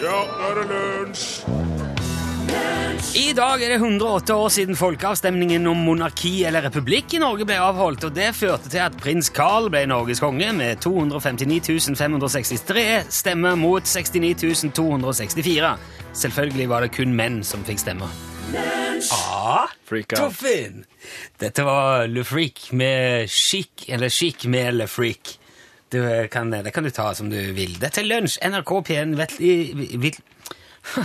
nå er det lunsj! I dag er det 108 år siden folkeavstemningen om monarki eller republikk i Norge ble avholdt, og det førte til at prins Carl ble Norges konge med 259 563 stemmer mot 69 264. Selvfølgelig var det kun menn som fikk stemmer. Ah, Freak out. Toffin! Dette var Le Freak med Chic, eller Chic med Le Freak. Du eh, kan, det kan du ta som du vil. Dette er lunsj. NRK P1, vettlig- vil-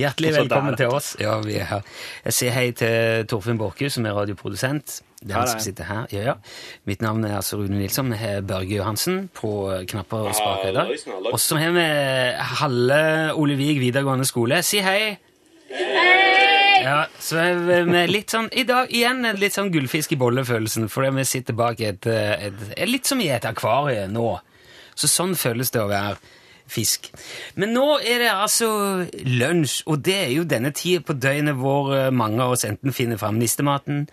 Hjertelig Også der, velkommen da. til oss. Ja, vi er her. Jeg sier hei til Torfinn Borchhus, som er radioprodusent. Det er Her er han som jeg. sitter her. Ja, ja. Mitt navn er altså Rune Nilsson. Vi har Børge Johansen på knapper og spaker i dag. Halloisen, halloisen. Og så har vi halve Olevig videregående skole. Si hei! Ja, så er vi med litt sånn, I dag igjen en litt sånn gullfisk i bolle-følelsen, fordi vi sitter bak et, eh, et, et Litt som i et akvarie nå. Så sånn føles det å være fisk. Men nå er det altså lunsj, og det er jo denne tida på døgnet hvor eh, mange av oss enten finner fram nistematen,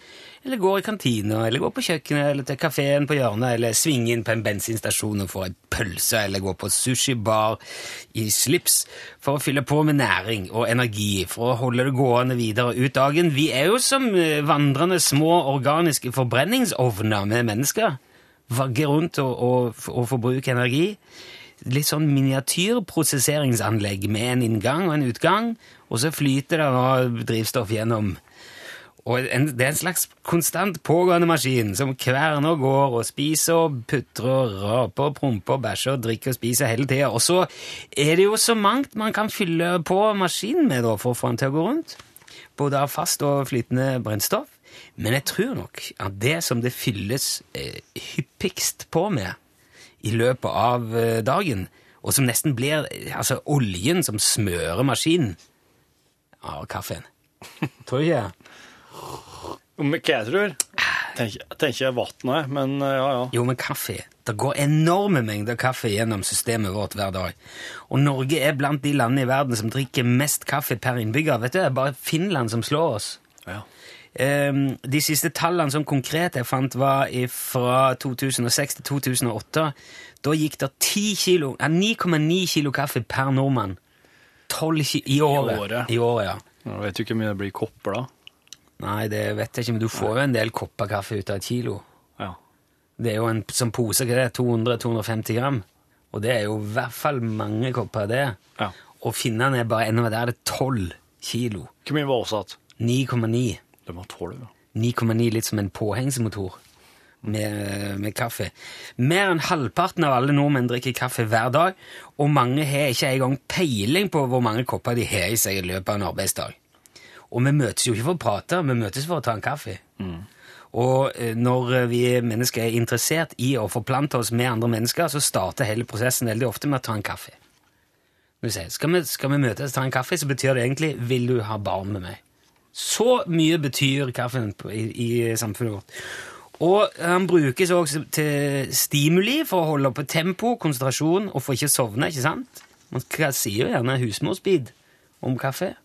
eller går i kantina, eller går på kjøkkenet, eller til kafeen på hjørnet, eller svinger inn på en bensinstasjon og får en pølse, eller går på sushibar i slips for å fylle på med næring og energi for å holde det gående videre ut dagen. Vi er jo som eh, vandrende små organiske forbrenningsovner med mennesker. Vagge rundt og, og, og forbruke energi. Litt sånn miniatyrprosesseringsanlegg med en inngang og en utgang, og så flyter det nå drivstoff gjennom. Og en, det er en slags konstant pågående maskin som kverner og går og spiser og putrer og raper og promper og bæsjer og drikker og spiser hele tida. Og så er det jo så mangt man kan fylle på maskinen med da, for å få den til å gå rundt. Både av fast og flytende brennstoff. Men jeg tror nok at det som det fylles eh, hyppigst på med i løpet av eh, dagen, og som nesten blir eh, altså oljen som smører maskinen av kaffen Tror ikke jeg. Om ikke jeg tror. Tenker, tenker jeg vann òg, men eh, ja ja. Jo, men kaffe. Det går enorme mengder kaffe gjennom systemet vårt hver dag. Og Norge er blant de landene i verden som drikker mest kaffe per innbygger. Vet du, Det er bare Finland som slår oss. Ja. Ehm, de siste tallene som konkret jeg fant, var fra 2006 til 2008. Da gikk det 10 kilo- nei, 9,9 kilo kaffe per nordmann. 12 ki I året. året. I året, ja. Nå vet du ikke hvor mye det blir kopper da. Nei, det vet jeg ikke, men du får jo en del kopper kaffe ut av et kilo. Ja. Det er jo en som pose, hva det er, 200-250 gram. Og det er jo i hvert fall mange kopper, det. Ja. Og finnene er bare ennå Der er det 12 kilo. Hvor mye var oppsatt? 9,9. Det var tolv, ja. 9,9 litt som en påhengsmotor med, med kaffe. Mer enn halvparten av alle nordmenn drikker kaffe hver dag, og mange har ikke engang peiling på hvor mange kopper de har i seg i løpet av en arbeidsdag. Og vi møtes jo ikke for å prate, vi møtes for å ta en kaffe. Og eh, når eh, vi mennesker er interessert i å forplante oss med andre mennesker, så starter hele prosessen veldig ofte med å ta en kaffe. Når du sier, Skal vi, skal vi møtes og ta en kaffe, så betyr det egentlig 'vil du ha barn med meg'? Så mye betyr kaffen på- i, i samfunnet vårt. Og han brukes også til stimuli for å holde oppe tempo, konsentrasjon og for ikke å sovne. ikke sant? Man k- sier jo gjerne husmorsbid om kaffe.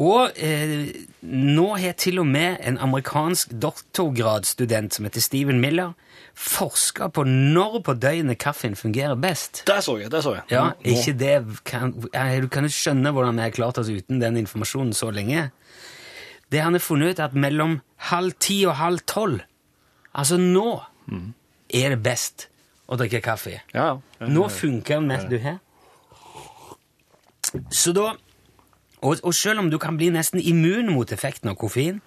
Og eh, nå har til og med en amerikansk doktorgradsstudent som heter Steven Miller, forska på når på døgnet kaffen fungerer best. Der så jeg, der så jeg. Ja, Nå- nå. ikke det kan, eh, Du kan jo skjønne hvordan vi har klart oss uten den informasjonen så lenge. Det han har funnet ut, er at mellom halv ti og halv tolv, altså nå, er det best å drikke kaffe. Mm. Ja, ja. Nå funker den mest du har. Så da og, og selv om du kan bli nesten immun mot effekten av koffein,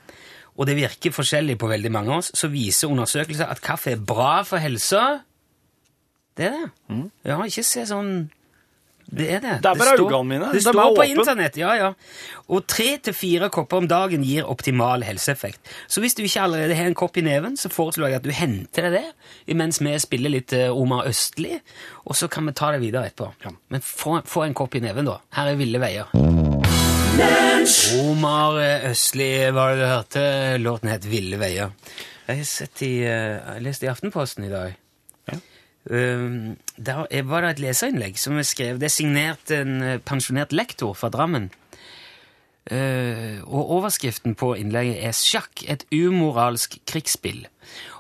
og det virker forskjellig på veldig mange av oss, så viser undersøkelser at kaffe er bra for helsa. Det er det. Mm. Ja, ikke se sånn det er det. Det er bare står- øynene mine. Det De er står på åpne. internett, ja, ja. Og tre til fire kopper om dagen gir optimal helseeffekt. Så hvis du ikke allerede har en kopp i neven, så foreslår jeg at du henter deg det imens vi spiller litt eh, Omar Østli, og så kan vi ta det videre etterpå. Ja. Men få, få en kopp i neven, da. Her er Ville veier. Omar eh, Østli, hva var det du hørte? Låten het Ville veier. Jeg har sett i, eh, jeg leste i Aftenposten i dag. Um, der er- var det et leserinnlegg som er skrevet Det er signert en eh, pensjonert lektor fra Drammen. Eh, og overskriften på innlegget er 'Sjakk et umoralsk krigsspill'.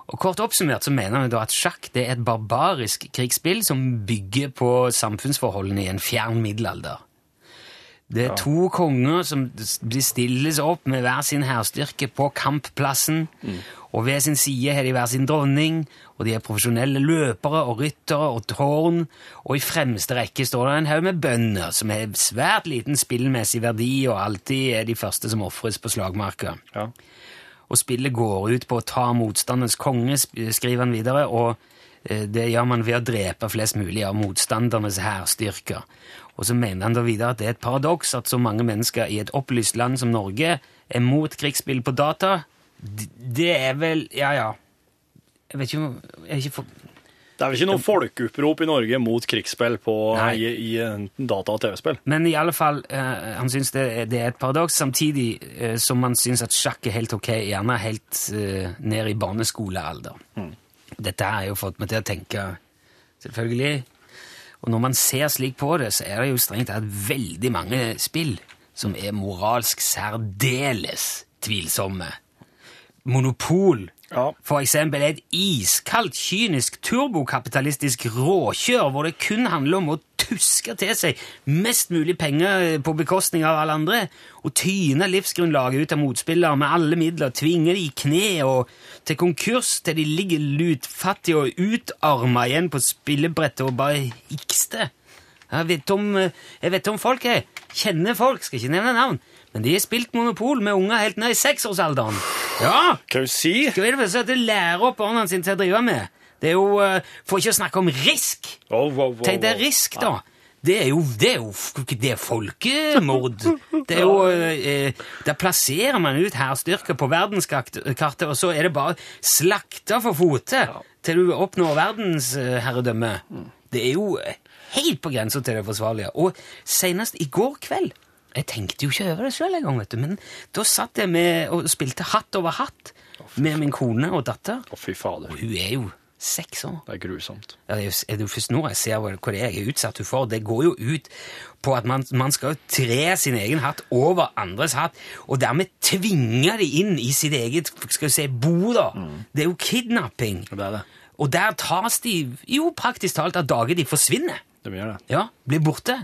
Og Kort oppsummert så mener hun da at sjakk det er et barbarisk krigsspill som bygger på samfunnsforholdene i en fjern middelalder. Det er to konger som s- de stilles opp med hver sin hærstyrke på kampplassen. Og ved sin side har de hver sin dronning, og de er profesjonelle løpere og ryttere og tårn. Og i fremste rekke står det en haug med bønder, som har svært liten spillmessig verdi, og alltid er de første som ofres på slagmarka. Ja. Og spillet går ut på å ta motstanderens konge, sp- skriver han videre, og eh, det gjør man ved å drepe flest mulig av motstandernes hærstyrker. Og så mener han da videre at det er et paradoks at så mange mennesker i et opplyst land som Norge er mot krigsspill på data. D- Det er vel Ja, ja. Jeg vet ikke om jeg har ikke fått- Det er vel ikke noe folkeopprop i Norge mot krigsspill på, Nei. i, i en data- og TV-spill? Men i alle fall, eh, han syns det, er- det er et paradoks, samtidig eh, som man syns at sjakk er helt ok, gjerne helt eh, ned i barneskolealder. Dette her har jo fått meg til å tenke, selvfølgelig. Og når man ser slik på det, så er det jo strengt tatt veldig mange spill som er moralsk særdeles tvilsomme. Monopol Ja. for eksempel et iskaldt, kynisk, turbokapitalistisk råkjør hvor det kun handler om å tuske til seg mest mulig penger eh, på bekostning av alle andre, og tyne livsgrunnlaget ut av motspillere med alle midler, tvinge de i kne og til konkurs til de ligger lutfattige og utarma igjen på spillebrettet og bare hikster. Jeg vet om, eh, jeg vet om folk, jeg. Kjenner folk, skal ikke nevne navn. Men de har spilt Monopol med unger helt ned i seksårsalderen. Ja! Hva si? Hva er det for sånn at du lærer opp barna sine til å drive med? Det er jo, eh, For ikke å snakke om risk! Wow, wow, wow, Tenk deg wow. risk, da! Det er jo, det er jo f- det er folkemord. Det er jo, eh, eh, Der plasserer man ut hærstyrker på verdenskartet, og så er det bare slakta for fote til du oppnår verdensherredømme. Det er jo eh, helt på grensa til det forsvarlige. Og senest i går kveld Jeg tenkte jo ikke over det sjøl engang, vet du, men da satt jeg med og spilte hatt over hatt med min kone og datter. Å, fy fader. Hun er jo seks år. Det er grusomt. Ja, det er jo s- er det jo først nå jeg ser hva hva det er jeg er utsatt for. Det går jo ut på at man, man skal jo tre sin egen hatt over andres hatt, og dermed tvinge de inn i sitt eget skal vi si, bo. da. Det er jo kidnapping. Det er det. Og der tas de jo praktisk talt av dage de forsvinner. De gjør det. Ja, blir borte.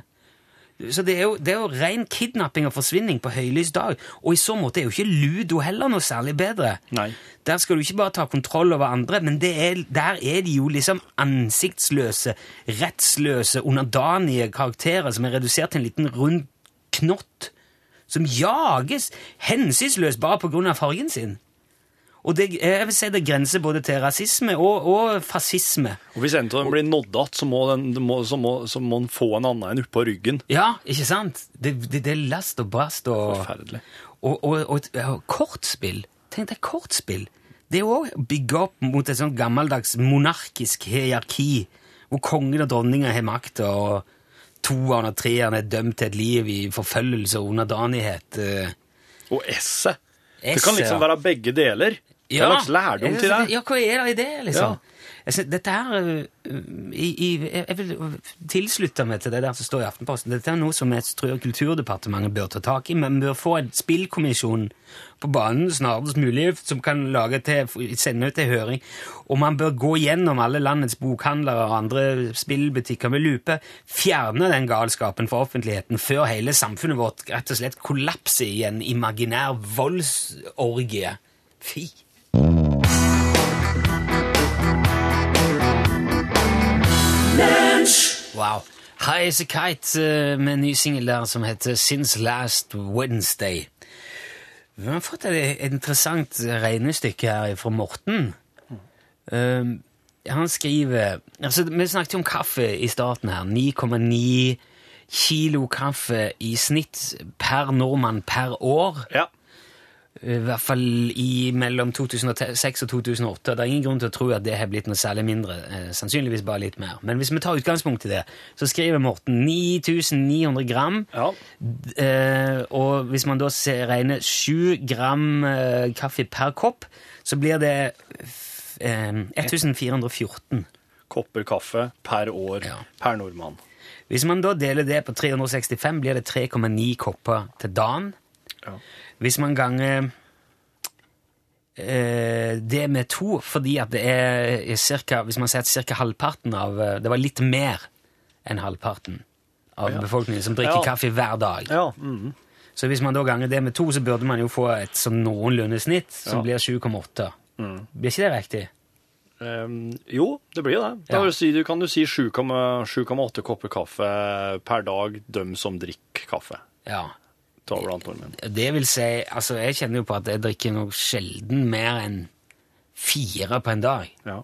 Så det er, jo, det er jo ren kidnapping og forsvinning på høylys dag. Og i så måte er jo ikke Ludo heller noe særlig bedre. Nei. Der skal du ikke bare ta kontroll over andre, men det er, der er de jo liksom ansiktsløse, rettsløse, underdanige karakterer som er redusert til en liten rund knott, som jages hensynsløst bare på grunn av fargen sin. Og det, jeg vil si det grenser både til rasisme og, og fascisme. Og hvis en av dem blir nådd att, så må den det må, så må, så må den få en annen enn oppå ryggen. Ja, ikke sant? Det, det, det er last og brast og Forferdelig. Og, og, og, og kortspill. Tenk deg kortspill. Det er jo også å bygge opp mot et sånt gammeldags monarkisk hierarki, hvor kongen og dronninga har makta, og toeren og treeren er dømt til et liv i forfølgelse og underdanighet. eh. Og esset. Det Esset, kan liksom ja. være begge deler. Det er en slags lærdom til det. Ja, hva er det i det, liksom? Jeg synes, dette her øh, i, i, Jeg jeg vil tilslutte meg til det der som står i Aftenposten. Dette er noe som jeg tror Kulturdepartementet bør ta tak i, men bør få en spillkommisjon på banen snarest mulig, som kan lage til, sende ut til høring. Og man bør gå gjennom alle landets bokhandlere og andre spillbutikker med lupe, fjerne den galskapen fra offentligheten før hele samfunnet vårt rett og slett kollapser i en imaginær voldsorgie. Fy! Wow. High as a Kite eh, med en ny singel der som heter Since Last Wednesday. Vi har fått et et interessant regnestykke her fra Morten. Um, han skriver altså, Vi snakket jo om kaffe i starten her. 9,9 kilo kaffe i snitt per nordmann per år. Ja. I hvert fall i mellom 2006 og 2008. Det er ingen grunn til å tro at det har blitt noe særlig mindre. Eh, sannsynligvis bare litt mer. Men hvis vi tar utgangspunkt i det, så skriver Morten 9900 gram. ja. D- Eh, og hvis man da ser, regner 7 gram eh, kaffe per kopp, så blir det f- eh, 1414. Kopper kaffe per år Ja. per nordmann. Hvis man da deler det på 365, blir det 3,9 kopper til dagen. Ja. Hvis man ganger eh, det med to, fordi at det eh, er cirka, hvis man sier at cirka halvparten av eh, Det var litt mer enn halvparten av befolkningen som drikker Ja. kaffe hver dag. Ja. mhm. Så hvis man da ganger det med to, så burde man jo få et sånn noenlunde snitt, som Ja. blir Mm. 7,8. Blir ikke det riktig? Ehm, jo, det blir jo det. Da Ja. har du si, du kan du si 7,8 kopper kaffe per dag dem som drikker kaffe. Ja. Ta blant nordmenn. Det vil si, altså jeg kjenner jo på at jeg drikker nok sjelden mer enn fire på en dag. Ja.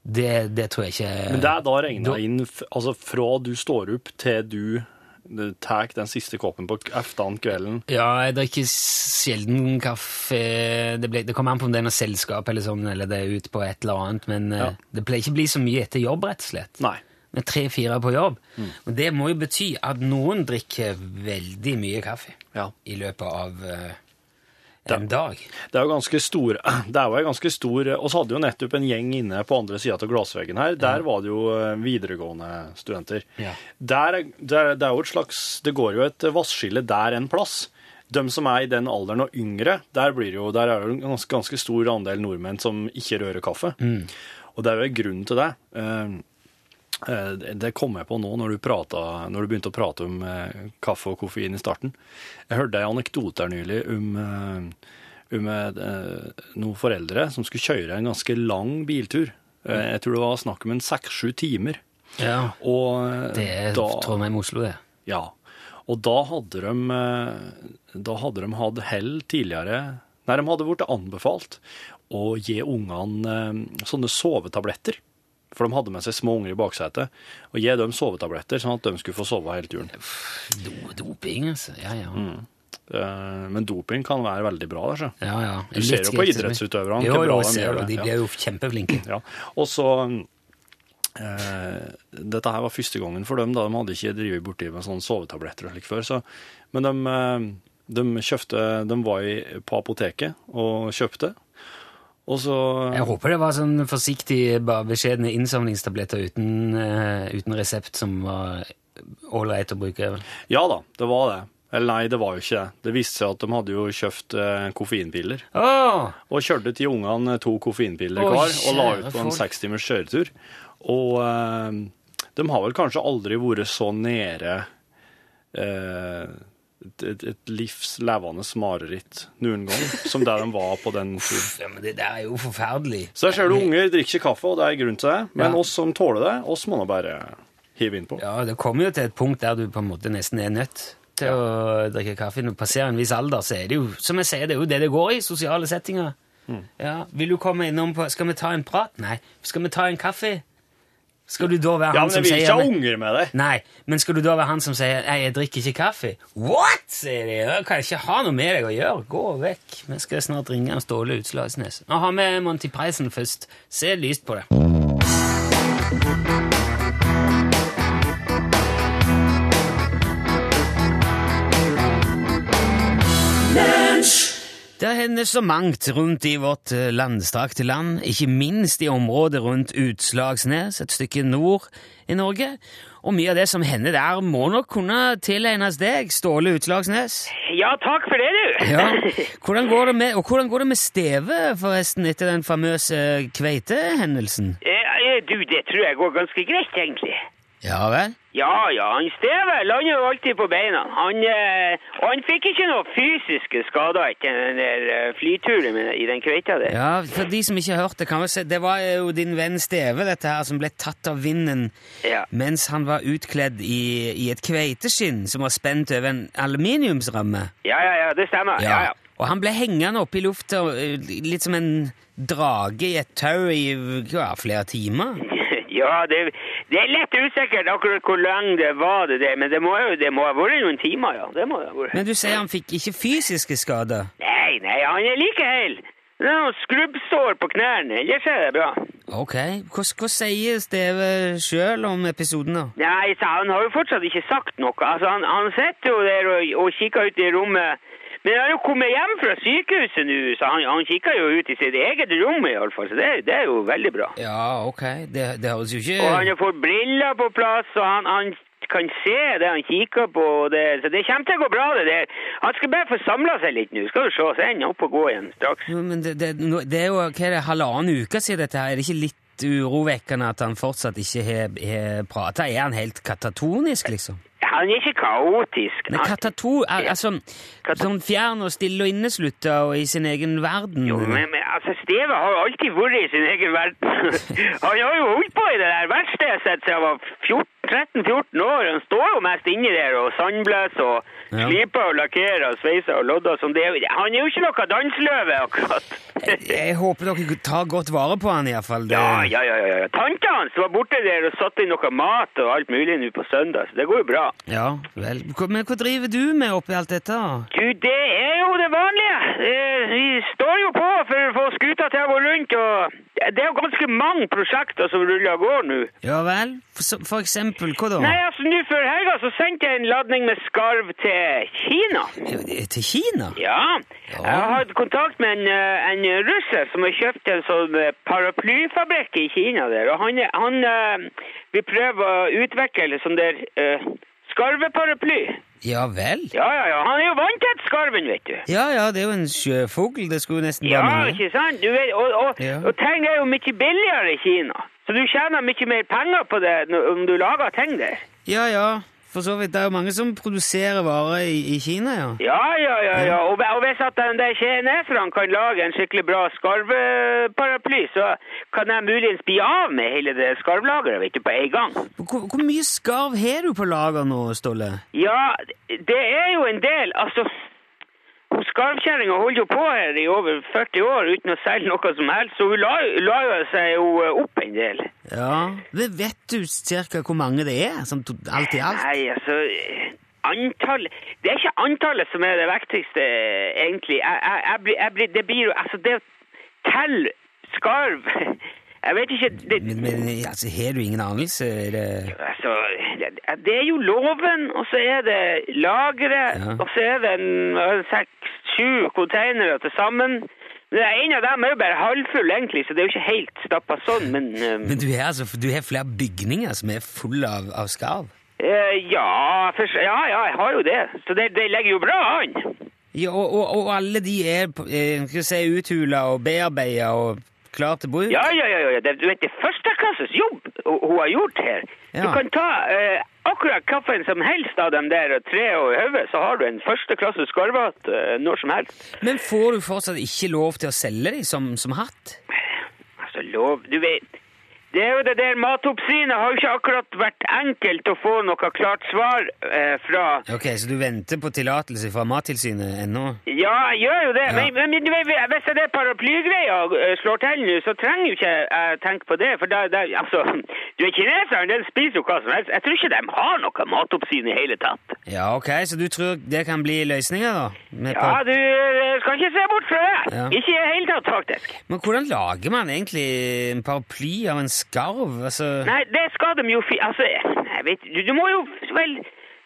Det, det tror jeg ikke Men det er da regna Eh, Da- inn f- altså fra du står opp til du tar den siste koppen på eftan kvelden. Ja, jeg drikker sjelden kaffe. Det, ble, det kommer an på om det er noe selskap eller sånn, eller det er ute på et eller annet, men eh, Ja. det pleier ikke å bli så mye etter jobb, rett og slett. Nei. Mm. Med tre-fire på jobb. Og det må jo bety at noen drikker veldig mye kaffe Ja. i løpet av eh, Da- en dag. Det er jo ganske stor Det er jo en ganske stor Vi hadde jo nettopp en gjeng inne på andre sida av glassveggen her. Der var det jo eh, videregående studenter. Ja. Der, er- der, det er jo et slags Det går jo et vasskille der en plass. De som er i den alderen og yngre, der, blir jo, der er det jo en ganske, ganske stor andel nordmenn som ikke rører kaffe. Og det er jo en grunn til det. Eh, Eh, Det det kom jeg på nå når du, prata, når du begynte å prate om eh, kaffe og koffein i starten. Jeg hørte en anekdote her nylig om, eh, om eh, noen foreldre som skulle kjøre en ganske lang biltur. Eh, Jeg tror det var snakk om en seks-sju timer. Ja. Og eh, Det er da, Trondheim Oslo, det. ja, og da hadde de, eh, da hadde de hatt hell tidligere. Nei, de hadde blitt anbefalt å gi ungene eh, sånne sovetabletter. For de hadde med seg små unger i baksetet. Og gi dem sovetabletter, sånn at de skulle få sove hele turen. Do, doping, altså. Ja, ja. Mm. Eh, Men doping kan være veldig bra. altså. Der, så. ja, ja. Du ser jo på Litt- idrettsutøverne, Jo, hvor jo, bra jeg de ser det. gjør det, De ja. blir jo kjempeflinke. Ja, og så eh, Dette her var første gangen for dem, da de hadde ikke drevet borti med sånne sovetabletter og slik før. Så, men de, eh, de kjøpte De var i, på apoteket og kjøpte, og så Jeg håper det var sånn forsiktig, bare beskjedne innsamlingstabletter uten, eh, uten resept som var ålreit å bruke. vel? Ja da, det var det. Eller nei, det var jo ikke det. Det viste seg at de hadde jo kjøpt eh, koffeinpiller. Åh! Og kjørte til ungene to koffeinpiller Å, hver og la kjære ut på en folk. seks timers kjøretur. Og eh, de har vel kanskje aldri vært så nede eh, et, et, et livs levende mareritt noen gang som det de var på den turen. Ja, men det der er jo forferdelig. Så der ser du unger drikker ikke kaffe, og det er grunn til det. Men Ja. oss som tåler det, oss må nå bare hive innpå. Ja, det kommer jo til et punkt der du på en måte nesten er nødt til å drikke kaffe. Når du passerer en viss alder, så er det jo som jeg sier, det er jo det det går i, sosiale settinger. Mm. Ja, Vil du komme innom på Skal vi ta en prat? Nei. Skal vi ta en kaffe? Skal du da være Ja, han men jeg som vil sier ikke ha unger med deg. Nei, men skal du da være han som sier Nei, jeg drikker ikke kaffe? What? sier de. Jeg kan ikke ha noe med deg å gjøre. Gå vekk. Vi skal snart ringe han Ståle Utslagsnes. Nå har vi Monty Preisen først. Se lyst på det. Det hender så mangt rundt i vårt eh, landstrakte land, ikke minst i området rundt Utslagsnes, et stykke nord i Norge. Og mye av det som hender der, må nok kunne tilegnes deg, Ståle Utslagsnes. Ja, takk for det, du. Ja. Hvordan går det med, og hvordan går det med stevet, forresten, etter den famøse kveitehendelsen? Eh, eh, du, det tror jeg går ganske greit, egentlig. Ja vel? Ja, ja, han Steve lander jo alltid på beina. Han, eh, og han fikk ikke noen fysiske skader etter den der eh, flyturen med, i den kveita der. Ja, For de som ikke har hørt det, kan vi se Det var jo din venn Steve, dette her, som ble tatt av vinden Ja. mens han var utkledd i, i et kveiteskinn som var spent over en aluminiumsramme. ja, ja, ja, det stemmer. Ja, ja. Og han ble hengende oppe i lufta, eh, litt som en drage i et tau i ja, flere timer. Ja, det, det er lett usikkert akkurat hvor lang det var det der, men det må jo det må ha vært noen timer, ja. Det må det ha vært. Men du sier han fikk ikke fysiske skader? Nei, nei, han er like hel. Det er noen skrubbsår på knærne, ellers er det bra. Ok. Hva, hva sier Steve sjøl om episoden, da? Nei, sa han har jo fortsatt ikke sagt noe. Altså, han, han sitter jo der og, og kikker ut i rommet. Men han har jo kommet hjem fra sykehuset nå, så han, han kikker jo ut i sitt eget rom i alle fall, så det, det er jo veldig bra. Ja, ok. Det, det høres jo Og han ikke har fått briller på plass, og han, han kan se det han kikker på, og det, så det kommer til å gå bra det der. Han skal bare få samlet seg litt nå, skal du se, så er han oppe og gå igjen straks. Jo, Men det, det, nå- det er jo hva er det, halvannen uke siden dette her. Er det ikke litt urovekkende at han fortsatt ikke har prata? Er han helt katatonisk, liksom? Ja, han er ikke kaotisk. Men Han- Katato er altså Kata- sånn fjern og stille og inneslutta og i sin egen verden. Jo, men, men altså, Steve har jo alltid vært i sin egen verden. han har jo holdt på i det der verkstedet sitt siden han var 13-14 år. Han står jo mest inni der og sandblåser og Ja. sliper og lakkerer og sveiser og lodder som det. er jo- Han er jo ikke noe danseløve, akkurat. Jeg, jeg håper dere tar godt vare på han iallfall. Ja, ja, ja, ja. ja. Tanta hans var borte der og satte inn noe mat og alt mulig nå på søndag, så det går jo bra. Ja, vel. Hva- Men hva driver du med oppi alt dette? da? Du, det er jo det vanlige. Eh, Vi står jo på for å få skuta til å gå rundt, og det er jo ganske mange prosjekter som ruller av gårde nå. Ja vel? For, så- for eksempel, hva da? Nei, altså, nå før helga så sendte jeg en ladning med skarv til Kina. Eh, Til Kina? Ja. Ja. Jeg har hatt kontakt med en, eh, en russer som har kjøpt en sånn eh, paraplyfabrikk i Kina der, og han, eh, han eh, vil prøve å utvikle sånn der eh, skarveparaply. Ja vel? Ja, ja, ja. Han er jo vant til skarven, vet du. Ja ja, det er jo en sjøfugl. Det skulle jo nesten Ja, være noe. ikke sant? Du vet, og, og, Ja. og ting er jo mye billigere i Kina. Så du tjener mye mer penger på det når- om du lager ting der. Ja ja, for så vidt. Det er jo mange som produserer varer i, i Kina, ja. Ja, ja, ja. ja. Og, og hvis at de der kineserne kan lage en skikkelig bra skarveparaply, så kan de muligens bli av med hele det skarvlageret vet du, på en gang. Hvor, hvor mye skarv har du på lager nå, Ståle? Ja, det er jo en del. Altså, hun skarvkjerringa holdt jo på her i over 40 år uten å selge noe som helst, så hun la, la jo seg jo eh, opp en del. Ja, Men Vet du cirka hvor mange det er? Sånn to- alt i alt? Nei, altså eh, antall, Det er ikke antallet som er det viktigste, eh, egentlig. Jeg, jeg, jeg, blir- jeg, blir- det blir jo Altså, det Tell skarv Jeg vet ikke det, Men, men altså, har du ingen anelse? Er det altså, det, det er jo loven, og så er det lageret, Ja. og så er det en- en seks-sju containere til sammen. Men En av dem er jo bare halvfull, egentlig, så det er jo ikke helt stappa sånn, men eh, Men du har, altså, du har flere bygninger som er fulle av, av skarv? eh, ja, for, ja, ja, jeg har jo det. Så det, det legger jo bra an. Ja, og, og, og alle de er på- eh, skal vi si, uthula og bearbeida og klar til bruk? Ja, ja, ja, ja, ja. Det, du vet, det er førsteklasses jobb hun hun har gjort her. Du Ja. kan ta eh, akkurat kaffen som helst av dem der og tre og i hodet, så har du en førsteklasses skarvehatt eh, når som helst. Men får du fortsatt ikke lov til å selge dem som, som hatt? Altså, lov Du vet, det er jo det der matoppsynet har jo ikke akkurat vært enkelt å få noe klart svar eh, fra. Ok, Så du venter på tillatelse fra Mattilsynet ennå? Ja, jeg gjør jo det, Ja. men, men du vet, hvis det er paraplygreia eh, slår til nå, så trenger jo ikke jeg tenke på det, for da, da altså, du er kineseren, den spiser jo hva som helst. Jeg tror ikke de har noe matoppsyn i hele tatt. Ja, ok, Så du tror det kan bli løsninger, da? Med Ja, par- du eh, skal ikke se bort fra det. Ja. Ikke i det hele tatt, faktisk. Men hvordan lager man egentlig en paraply av en skarv? Altså, Nei, det skal de jo fi... Altså, jeg vet du, du må jo vel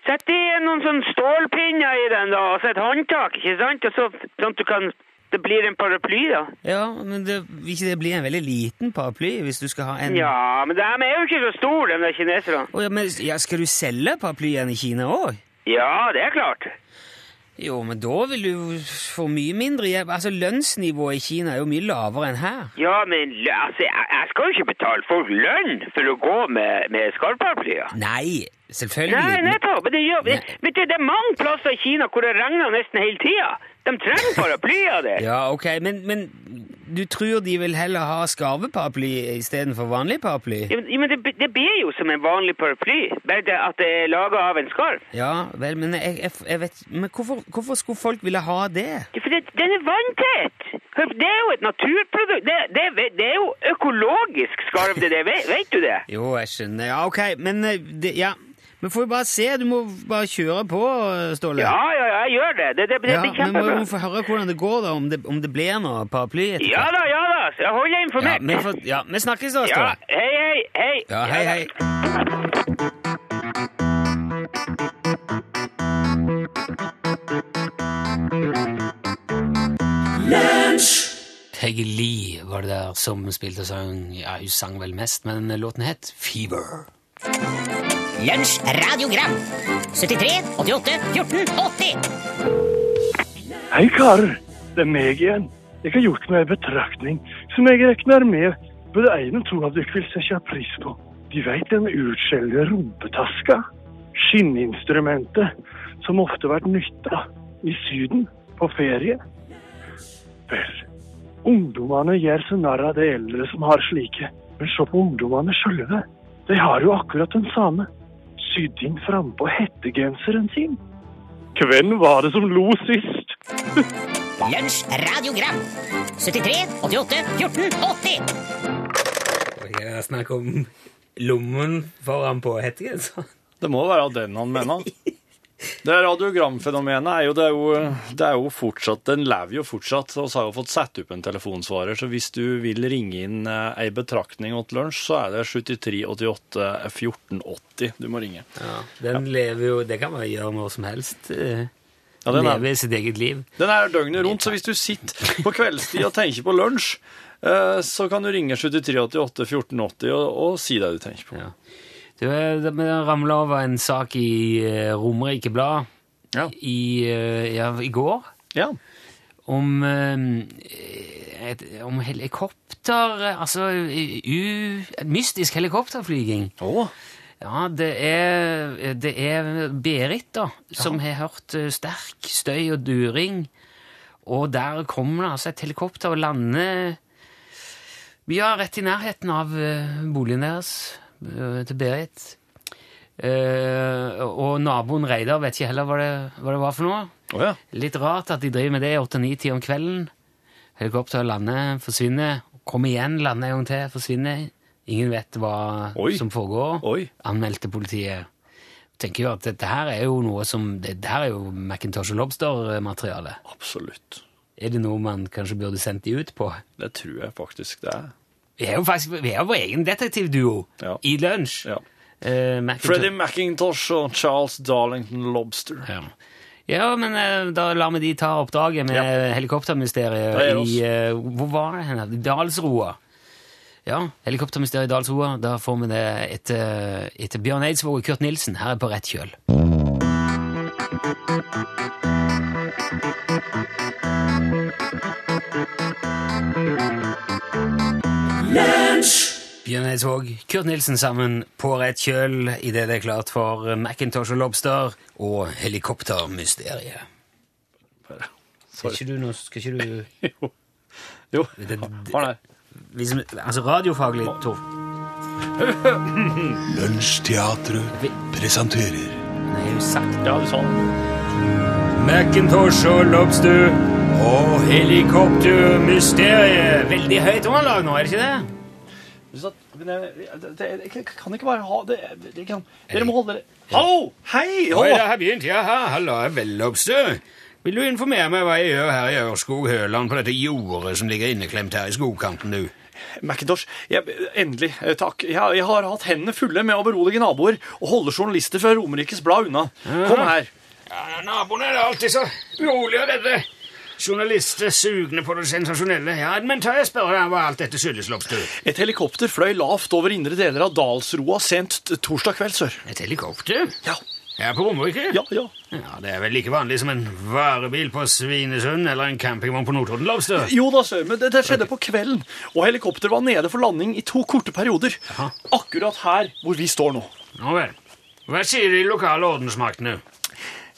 sette i noen sånne stålpinner i den, da, og så et håndtak, ikke sant? Og så, sånn at du kan Det blir en paraply, da. ja, men det, Vil ikke det bli en veldig liten paraply hvis du skal ha en Ja, men de er jo ikke så store, de der kineserne. Å, ja, men, ja, Skal du selge paraplyen i Kina òg? Ja, det er klart. Jo, men da vil du jo få mye mindre hjelp. Altså, Lønnsnivået i Kina er jo mye lavere enn her. Ja, men lø- altså, jeg, jeg skal jo ikke betale folk lønn for å gå med, med skarvparaplyer. Nei, selvfølgelig. Nei, nettopp. Men det, gjør, det, Nei. vet du, det er mange plasser i Kina hvor det regner nesten hele tida. De trenger paraplyer der. Ja, ok, men, men du tror de vil heller ha skarveparaply istedenfor vanlig paraply? Ja, men- ja, men det, det blir jo som en vanlig paraply, bare det at det er laget av en skarv. Ja, vel, men jeg, jeg, jeg vet Men hvorfor, hvorfor skulle folk ville ha det? Ja, For det, den er vanntett! Hør, Det er jo et naturprodukt. Det, det, det er jo økologisk skarv, det der. Vet, vet du det? Jo, jeg skjønner. Ja, ok, men eh, det, Ja. Men får vi bare se. Du må bare kjøre på, eh, Ståle. Ja, ja, ja, jeg gjør det. Det, det, det Ja, blir men må kjempebra. vi få høre hvordan det går, da, om det, om det blir noe paraply etter Ja da, ja da. så Jeg holder Ja, informert. vi får, ja, vi snakkes da, Ja, Ståle. hei, hei, hei. Ja, hei, hei. Peggy Lee var det der som spilte og sang Ja, hun sang vel mest, men låten het Fever. Lunsjradiogram 73 88 14 80 Hei, karer. Det er meg igjen. Jeg har gjort meg en betraktning som jeg regner med både en og to av dere vil sette pris på. De vet den utskjellige rumpetaska. skinninstrumentet som ofte vært nytta i Syden på ferie. Vel, ungdommene gjør så narr av de eldre som har slike, men se på ungdommene sjølve. De har jo akkurat den samme, sydd inn frampå hettegenseren sin. Hvem var det som lo sist? Lunsj radiogram 73 88 14 80 Og jeg er snakk om lommen foran på hettegenseren. Det må være den han mener. Det radiogramfenomenet er jo, det er jo, det er jo fortsatt Den lever jo fortsatt. Vi har jo fått satt opp en telefonsvarer, så hvis du vil ringe inn eh, ei betraktning åt lunsj, så er det 73 88 14 80 du må ringe. Ja, den lever jo Det kan man gjøre når som helst. eh, Ja, den er- Leve sitt eget liv. Den er døgnet rundt, så hvis du sitter på kveldstid og tenker på lunsj, eh, så kan du ringe 7388 1480 og, og si det du tenker på. Ja. Du, eh, det det ramlet over en sak i eh, Romerike Blad Ja. i, eh, ja, i går. Ja. om, eh, et, om helikopter Altså u, et mystisk helikopterflyging. Å, Ja, det er, det er Berit, da, som har hørt eh, sterk støy og during. Og der kommer det altså et helikopter og lander ja, rett i nærheten av eh, boligen deres eh, til Berit. Eh, og naboen Reidar vet ikke heller hva det, hva det var for noe. Å ja. Litt rart at de driver med det i 8-9-tid om kvelden. Helikopteret lander, forsvinner, kommer igjen, lander en gang til, forsvinner. Ingen vet hva Oi. som foregår. Oi. Anmeldte politiet. Tenker jo at dette her er jo noe som Dette her er jo Macintosh og Lobster-materiale. Absolutt. Er det noe man kanskje burde sendt de ut på? Det tror jeg faktisk det er. Vi er jo faktisk vi er jo vår egen detektivduo Ja. i lunsj. Ja. Eh, Macintosh- Freddie Macintosh og Charles Darlington Lobster. Ja. Ja, men eh, da lar vi de ta oppdraget med Da er det helikoptermysteriet oss. i eh, Hvor var det hen? I Dalsroa. Ja, helikoptermysteriet i Dalsroa. Da får vi det etter, etter Bjørn Eidsvåg og Kurt Nilsen. Her er På rett kjøl. Bjørn Eidsvåg, Kurt Nilsen sammen på rett kjøl idet det er klart for Macintosh og Lobster og helikoptermysteriet. Skal ikke du noe Skal ikke du Jo. Jo. det, det, Var det? hvis, Altså radiofaglig, Tor. Lunsjteatret presenterer Nei, jo sagt. Ja, du sa det. Macintosh og Lobster og helikoptermysteriet. Veldig høyt underlag nå, er det ikke det? Du sa- men jeg- det- det- jeg Kan ikke bare ha det, det kan, Dere må holde dere Hallo! Hei! Oi, Hallo! det har begynt. Jaha, hallo, vel, Lobster. Vil du informere meg hva jeg gjør her i Ørskog Høland på dette jordet som ligger inneklemt her i skogkanten, du? Macintosh, jeg, endelig, eh, takk. Jeg, jeg har hatt hendene fulle med å berolige naboer og holde journalister fra Romerikes Blad unna. Kom her. Ja, Naboene er alltid så urolige av dette. Journalister sugne på det sensasjonelle. Ja, men tør jeg spørre deg hva alt dette skyldes, Lobster? Et helikopter fløy lavt over indre deler av Dalsroa sent t- torsdag kveld, sør. Et helikopter? Ja, Her på Romerike? ja, ja. Ja, Det er vel like vanlig som en varebil på Svinesund eller en campingvogn på Notodden, Lobster. Jo da, sør, men det, det skjedde på kvelden, og helikopteret var nede for landing i to korte perioder. Jaha. Akkurat her hvor vi står nå. Nå vel. Hva sier de lokale ordensmaktene?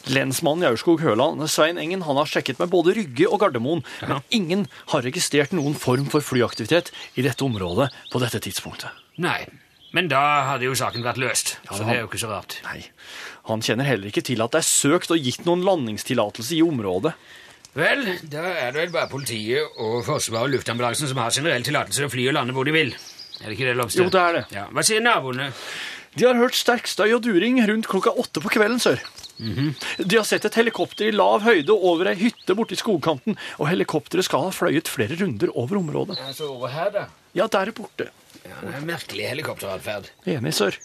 Lensmannen i Aurskog Høland, Svein Engen, han har sjekket med både Rygge og Gardermoen, men ingen har registrert noen form for flyaktivitet i dette området på dette tidspunktet. Nei, men da hadde jo saken vært løst. så det er jo ikke så rart. Nei, han kjenner heller ikke til at det er søkt og gitt noen landingstillatelse i området. Vel, da er det vel bare politiet og Forsvaret og luftambulansen som har generell tillatelse til å fly og lande hvor de vil. Er det ikke det, Lobster? Jo, det er det. Ja, Hva sier naboene? De har hørt sterk støy og during rundt klokka åtte på kvelden, sør. Mhm. De har sett et helikopter i lav høyde over ei hytte borte i skogkanten, og helikopteret skal ha fløyet flere runder over området. Altså, over her, da. Ja, der er borte. Ja, det er Merkelig helikopteratferd. Enig, sør.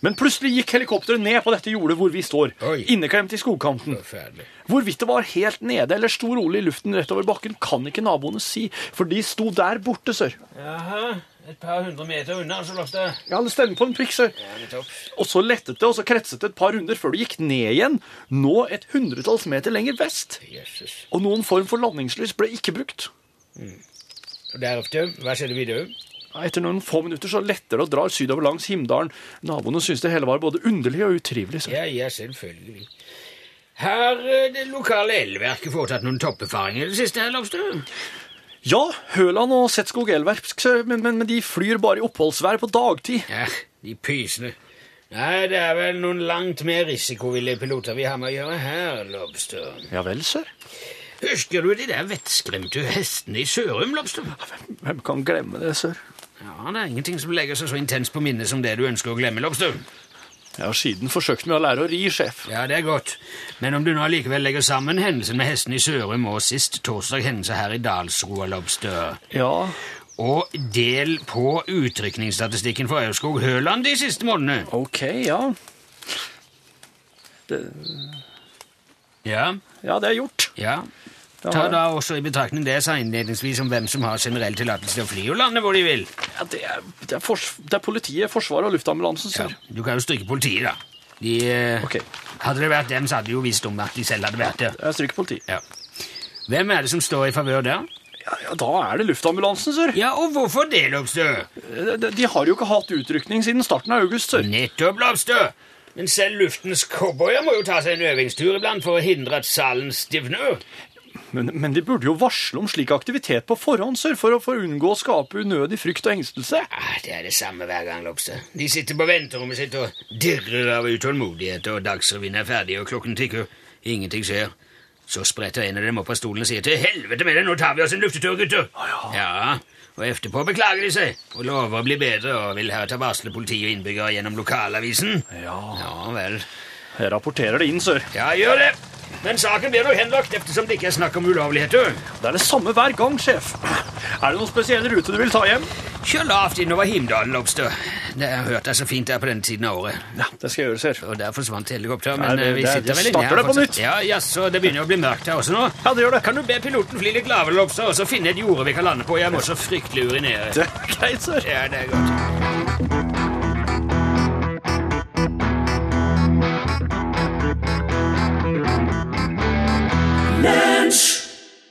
Men plutselig gikk helikopteret ned på dette jordet hvor vi står, Oi. inneklemt i skogkanten. Forferdelig. Hvorvidt det var helt nede eller sto rolig i luften rett over bakken, kan ikke naboene si, for de sto der borte, sør. Jaha, et par hundre meter unna, altså, Lobster. Ja, det stemmer på en prikk, sør. Ja, nettopp. Og så lettet det, og så kretset det et par runder før det gikk ned igjen, nå et hundretalls meter lenger vest. Jesus. Og noen form for landingslys ble ikke brukt. Og derefter, hva skjedde videre? Etter noen få minutter så letter det og drar sydover langs Himdalen. Naboene syns det hele var både underlig og utrivelig. Så. Ja, ja, selvfølgelig. Har eh, det lokale elverket foretatt noen toppbefaringer i det siste, herr Lobster? Ja, Høland og Setskog Elverk, så- men, men, men de flyr bare i oppholdsvær på dagtid. Ja, de pysene. Nei, det er vel noen langt mer risikovillige piloter vi har med å gjøre her, Lobster. Ja vel, sir. Husker du de der vettskremte hestene i Sørum, Lobster? Hvem kan glemme det, sir? Ja, det er ingenting som legger seg så intenst på minnet som det du ønsker å glemme, Lobster. Jeg har siden forsøkt med å lære å ri, sjef. Ja, det er godt. Men om du nå allikevel legger sammen hendelsen med hestene i Sørum og sist torsdag hendelse her i Dalsroa, Lobster, Ja, og del på utrykningsstatistikken for Aurskog Høland de siste månedene ok, ja. Det, Ja, ja, det er gjort. ja. Da Ta har- da også i betraktning det jeg sa innledningsvis om hvem som har generell tillatelse til å fly og lande hvor de vil. Ja, det, er, det, er fors det er politiet, Forsvaret og luftambulansen, Ja, sir. du kan jo stryke politiet, da. De, eh, Ok. Hadde det vært dem, så hadde de jo visst om at de selv hadde vært der. Jeg stryker politi. Ja. Hvem er det som står i favør der? Ja, ja, da er det luftambulansen, sir. Ja, og hvorfor det, Lobster? De, de har jo ikke hatt utrykning siden starten av august, sir. Nettopp, Lobster! Men selv luftens cowboyer må jo ta seg en øvingstur iblant for å hindre at salen stivner. Men, men de burde jo varsle om slik aktivitet på forhånd, sir, for å, for å unngå å skape unødig frykt og engstelse. Ah, det er det samme hver gang, Lobster. De sitter på venterommet sitt og dirrer av utålmodighet, og Dagsrevyen er ferdig, og klokken tikker. Ingenting skjer. Så spretter en av dem opp av stolen og sier til helvete med det, nå tar vi oss en luftetur, gutter. ja. ja. Og etterpå beklager de seg og lover å bli bedre og vil heretter varsle politi og innbyggere gjennom lokalavisen. Ja, Ja vel. jeg rapporterer det inn, sir. Ja, gjør det. Men saken blir nå henlagt eftersom det ikke er snakk om ulovligheter. Det er det samme hver gang, sjef. Er det noen spesielle rute du vil ta hjem? Kjør lavt innover Himdalen, Lobster. Det har jeg hørt er så fint der på denne tiden av året. Ja, det skal jeg gjøre, sir. Og der forsvant helikopteret, Nei, men det- eh, vi det- sitter det vel starter inne her. det på fortsatt. nytt. Ja, jaså, det begynner å bli mørkt her også nå. Ja, det gjør det. Kan du be piloten fly litt lavere, Lobster, og så finne et jorde vi kan lande på? Jeg må så fryktelig urinere. Det er greit, sir. Ja, det er godt.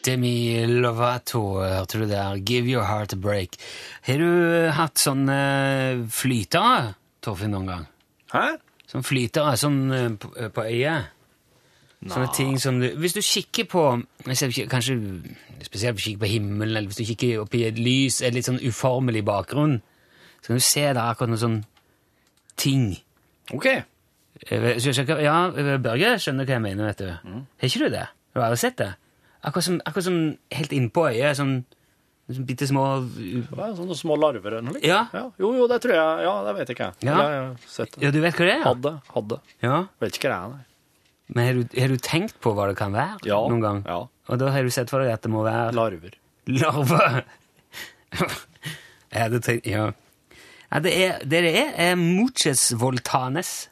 Demi Lovato, hørte du der. Give your heart a break. Har du eh, hatt sånn, sånne eh, flytere, Torfinn, noen gang? Hæ? Sånn flytere sånn eh, på, eh, på øyet? Sånne ting som du Hvis du kikker på jeg ser ikke- Kanskje spesielt hvis du kikker på himmelen, eller hvis du kikker opp i et lys, en litt sånn uformelig bakgrunn, så kan du se der akkurat noen sånn ting. Ok. Jeg vet- skjønner ikke- Ja, eh, Børge skjønner hva jeg mener, vet du. Har ikke du det? Du har aldri sett det? Akkurat som, akkurat som helt innpå øyet, sånn, sånn bitte små Det er sånne små larver eller noe. Ja. Jo, jo, det tror jeg. Ja, det vet ikke jeg. Ja. Eller jeg har sett det. Ja, du vet hva det er? Hadde, hadde. Ja. Vet ikke hva det er, nei. Men har du, har du tenkt på hva det kan være Ja, noen gang? ja. Og da har du sett for deg at det må være Larver. larve? jeg hadde tenkt Ja. ja det, er, det det er, er muches voltanes.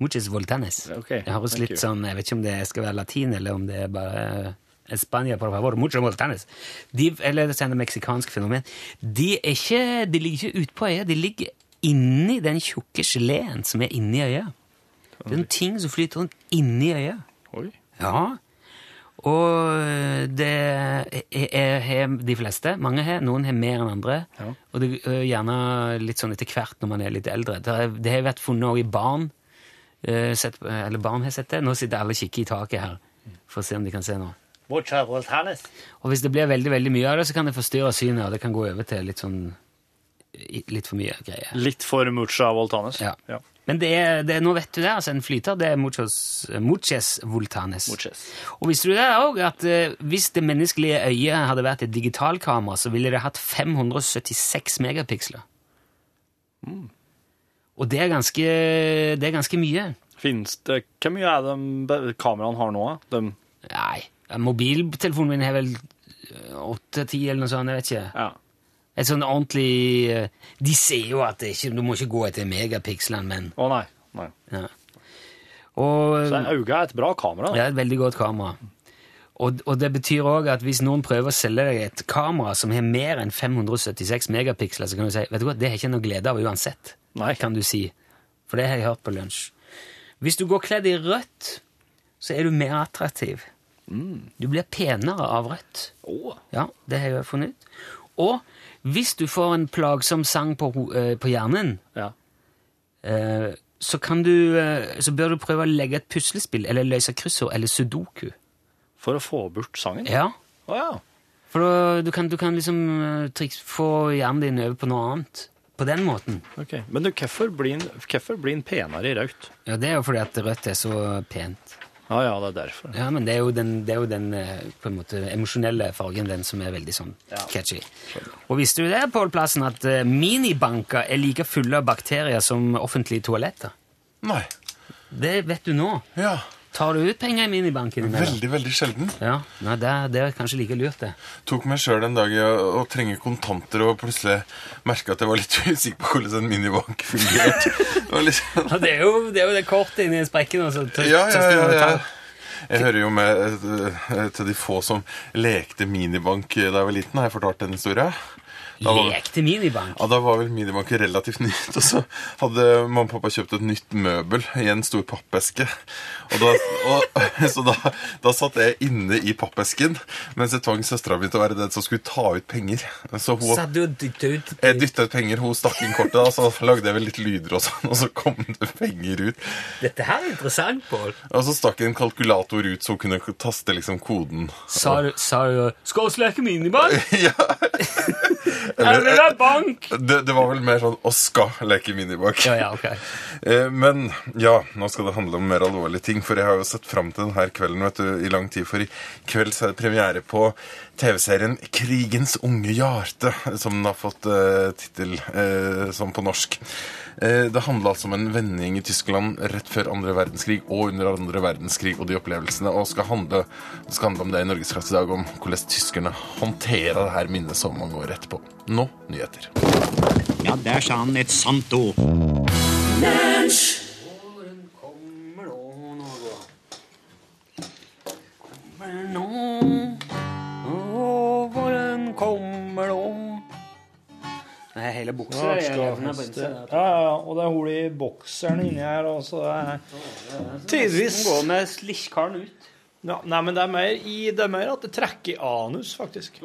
Muches voltanes. Ok, Det høres thank litt you. sånn Jeg vet ikke om det skal være latin, eller om det er bare eh, Spania, por favor. Mucho voltanes. De, eller det er et meksikansk fenomen. De, er ikke, de ligger ikke utpå øyet, de ligger inni den tjukke geleen som er inni øyet. Det er en ting som flyter rundt inni øyet. Oi. Ja. Og det er- er- har de fleste. Mange har. Noen har mer enn andre. Ja. Og det er gjerne litt sånn etter hvert når man er litt eldre. Det har, det har vært funnet også i barn. eh, Sett, eller barn har sett det. Nå sitter alle og kikker i taket her for å se om de kan se noe. Og hvis det blir veldig veldig mye av det, så kan det forstyrre synet, og det kan gå over til litt sånn Litt for mye greier. Litt for mucha voltanes. Ja. Men det er, det er, nå vet du det, altså en flyter, det er muchos, eh, muches voltanes. Muchas. Og visste du det òg, at eh, hvis det menneskelige øyet hadde vært et digitalkamera, så ville det hatt 576 megapiksler. Og det er, ganske, det er ganske mye. Finnes det Hvor mye er de be- kameraene har nå? da? De, Nei, mobiltelefonen min har vel åtte-ti eller noe sånt, jeg vet ikke. ja. Et sånn ordentlig eh, De ser jo at det ikke, du må ikke gå etter megapikslene, men Å nei. nei. ja. Og, eh, Så øyet er et bra kamera. da. Ja, et veldig godt kamera. Og, og det betyr òg at hvis noen prøver å selge deg et kamera som har mer enn 576 megapiksler, så kan du si vet du hva, det har jeg ikke noe glede av uansett. Nei. Kan du si. For det har jeg hørt på lunsj. Hvis du går kledd i rødt, så er du mer attraktiv. Du blir penere av rødt. Å, Ja, det har jeg funnet ut. Og hvis du får en plagsom sang på, ho- eh, på hjernen, Ja. eh, så, kan du, eh, så bør du prøve å legge et puslespill, eller løse kryssord, eller sudoku. For å få bort sangen? Ja, Å ja. for da, du, kan, du kan liksom eh, triks, få hjernen din over på noe annet. På den måten. Ok. Men du, hvorfor blir den- hvorfor blir den penere i rødt? Ja, det er jo fordi at rødt er så pent. Ja ja, det er derfor. Ja, men det er jo den, det er jo den eh, på en måte emosjonelle fargen, den som er veldig sånn catchy. Og visste du det, Pål Plassen, at eh, minibanker er like fulle av bakterier som offentlige toaletter? Nei. Det vet du nå. Ja. Tar du ut penger i minibanken? din, eller? Veldig, veldig sjelden. Ja, nei, det, er- det er kanskje like lurt, det. Tok meg sjøl en dag i å, å trenge kontanter og plutselig merka at jeg var litt usikker på hvordan en minibank fungerte. Det var litt sånn- Ja, det er jo det, er jo det kortet inni sprekken. og så tø- Ja, ja, tøster du ja, og ja. tar. Jeg hører jo med eh, til de få som lekte minibank da jeg var liten. Har jeg fortalt den historien? Da var- Lekte minibank. Ja, Da var vel minibanken relativt nytt, og så hadde mamma og pappa kjøpt et nytt møbel i en stor pappeske. Og da, og, så da, da satt jeg inne i pappesken, mens jeg tvang søstera mi til å være den som skulle ta ut penger. Så hun, Satt du og dytta ut jeg dytta ut penger, hun stakk inn kortet, da, så lagde jeg vel litt lyder og sånn, og så kom det penger ut. Dette her er interessant, Pål. Og så stakk jeg en kalkulator ut, så hun kunne taste liksom koden. Sa du, sa du 'Skal vi leke minibank'? Ja, Jeg vil ha bank! det, det var vel mer sånn 'Å skal leke minibank'. Ja, ja, ok. Eh, Men ja, nå skal det handle om mer alvorlige ting, for jeg har jo sett fram til denne kvelden vet du, i lang tid. For i kveld så er det premiere på TV-serien 'Krigens unge hjarte', som den har fått eh, tittel eh, som på norsk. Eh, det handler altså om en vending i Tyskland rett før andre verdenskrig og under andre verdenskrig og de opplevelsene, og skal handle, skal handle om det i Norgesklasse i dag, om hvordan tyskerne håndterer det her minnet så mange år etterpå. Nå nyheter. Ja, der sa han et sant ord. Kommer nå, å, våren kommer nå. Nei, hele buksa Ja, er skal levende på feste. innsiden. Ja, ja, og det er hull i bokseren inni her også. Tidvis Gå med slisjkaren ut. ja, Nei, men det er mer i Det er mer at det trekker i anus, faktisk.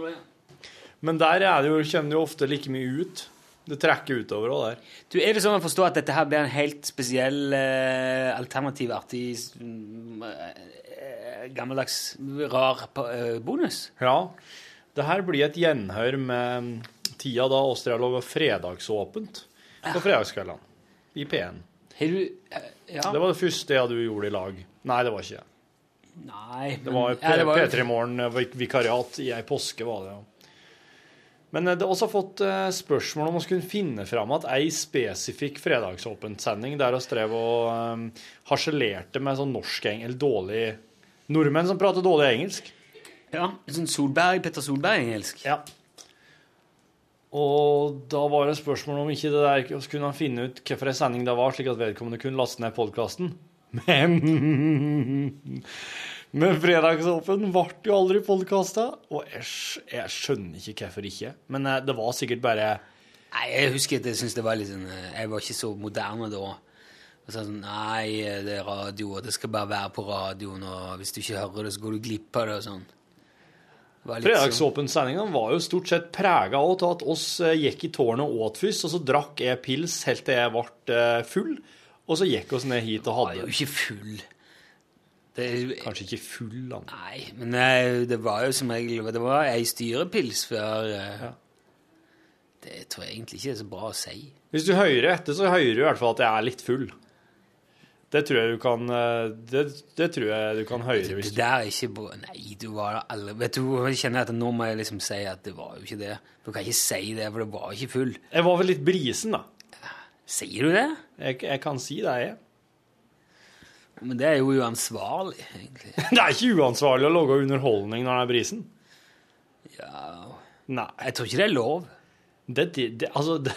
Men der er det jo, kommer det jo ofte like mye ut. Det trekker utover òg der. Du, Er det sånn å forstå at dette her blir en helt spesiell eh, alternativ, artig, s- mm, eh, gammeldags, rar pa- eh, bonus? Ja. Det her blir et gjenhør med tida da Åstria lå fredagsåpent på fredagskveldene i P1. Har du eh, Ja. Det var det første jeg du gjorde i lag. Nei, det var ikke jeg. Nei. Det var ja, det var- P3 Morgen-vikariat i ei påske, var det. jo. Men eh, det har også fått eh, spørsmål om å skulle finne fram at ei spesifikk fredagsåpent-sending der vi drev og eh, harselerte med sånn norsk eng- eller dårlig Nordmenn som prater dårlig engelsk. Ja, sånn Solberg, Petter Solberg-engelsk. Ja. Og da var det spørsmål om ikke det der vi kunne han finne ut hvorfor en sending det var, slik at vedkommende kunne laste ned podkasten. Men Men Fredagsåpen ble jo aldri podkasta, og jeg, skj- jeg skjønner ikke hvorfor ikke. Men eh, det var sikkert bare Nei, jeg husker at jeg syntes det var litt sånn eh, Jeg var ikke så moderne da. Og så sånn, Nei, det er radio, og det skal bare være på radioen, og hvis du ikke hører det, så går du glipp av det, og sånn. Det var litt sånn- Fredagsåpen-sendinga var jo stort sett prega av at oss eh, gikk i tårnet og åt først, og så drakk jeg pils helt til jeg ble eh, full, og så gikk oss ned hit og Jeg er jo hadde ikke full. Det, Kanskje ikke full, da. nei, men eh, det var jo som regel Det var ei styrepils før eh, Ja. Det tror jeg egentlig ikke er så bra å si. Hvis du hører etter, så hører du i hvert fall at jeg er litt full. Det tror jeg du kan eh, Det, det tror jeg du kan høre hvis du Det der er ikke bra. Nei, du var da aldri Vet du, jeg kjenner at nå må jeg liksom si at det var jo ikke det. Du kan ikke si det, for du var ikke full. Jeg var vel litt brisen, da. Sier du det? Jeg, jeg kan si det, jeg. Men det er jo uansvarlig, egentlig. Det er ikke uansvarlig å lage underholdning når det er brisen. Ja. Nei, Jeg tror ikke det er lov. det, det, det Altså det,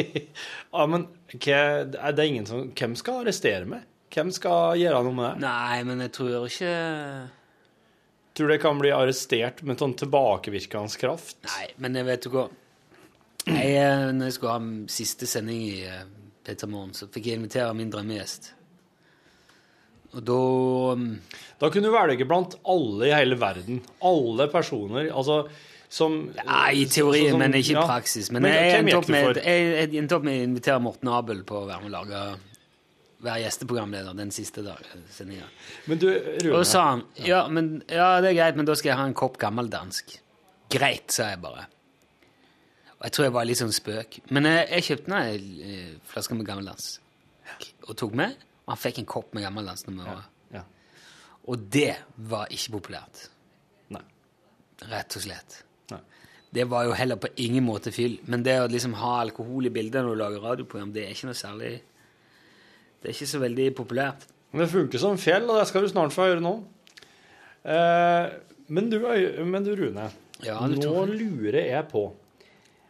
Ja, men hva, er det ingen som Hvem skal arrestere meg? Hvem skal gjøre noe med det? Nei, men jeg tror ikke Tror du jeg kan bli arrestert med sånn tilbakevirkende kraft? Nei, men jeg vet du hva jeg, eh, Når jeg skulle ha m- siste sending i eh, Peter Morgen, så fikk jeg invitere min drømmegjest. Og da mm, Da kunne du velge blant alle i hele verden. Alle personer. Altså, Som, Nei, i teorien, sånn- men ikke i ja. praksis. Men, Men jeg hvem endte gikk opp du med for? jeg, jeg endte opp med å invitere Morten Abel på å være med og lage være gjesteprogramleder den siste dagen. sendingen. Men du, Rune, Og så sa han ja, men, ja, det er greit, men da skal jeg ha en kopp gammeldansk. Greit, sa jeg bare. Og jeg tror jeg var litt sånn spøk. Men jeg, jeg kjøpte nå ei eh, flaske med gammeldansk og tok med. Og han fikk en kopp med gammeldansk. når vi var- ja. Og det var ikke populært. Nei. Rett og slett. Nei. Det var jo heller på ingen måte fyll. Men det å liksom ha alkohol i bildet når du lager radioprogram, det er ikke noe særlig Det er ikke så veldig populært. Men det funker som fjell, og det skal du snart få høre nå. Eh, men, du, Øy- men du, Rune, Ja, du nå tror- lurer jeg på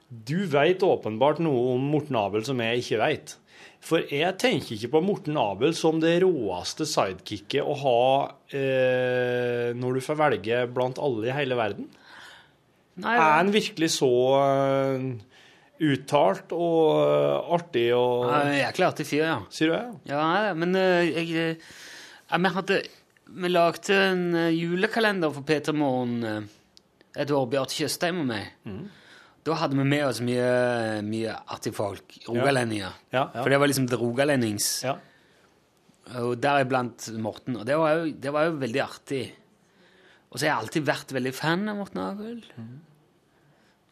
Du veit åpenbart noe om Morten Abel som jeg ikke veit. For jeg tenker ikke på Morten Abel som det råeste sidekicket å ha eh, når du får velge blant alle i hele verden. Nei, Er han virkelig så eh, uttalt og eh, artig og ja, jeg er klart til fyr, ja. Sier du det? Ja, men eh, jeg eh, ja, Vi hadde Vi lagde en eh, julekalender for Peter Morgen eh, et år, Bjarte Tjøstheim og meg. Da hadde vi med oss mye, mye artige folk. Rogalendinger. Ja, ja. For det var liksom The Rogalendings. Ja. Og deriblant Morten. Og det var, jo, det var jo veldig artig. Og så har jeg alltid vært veldig fan av Morten Abel. Mm.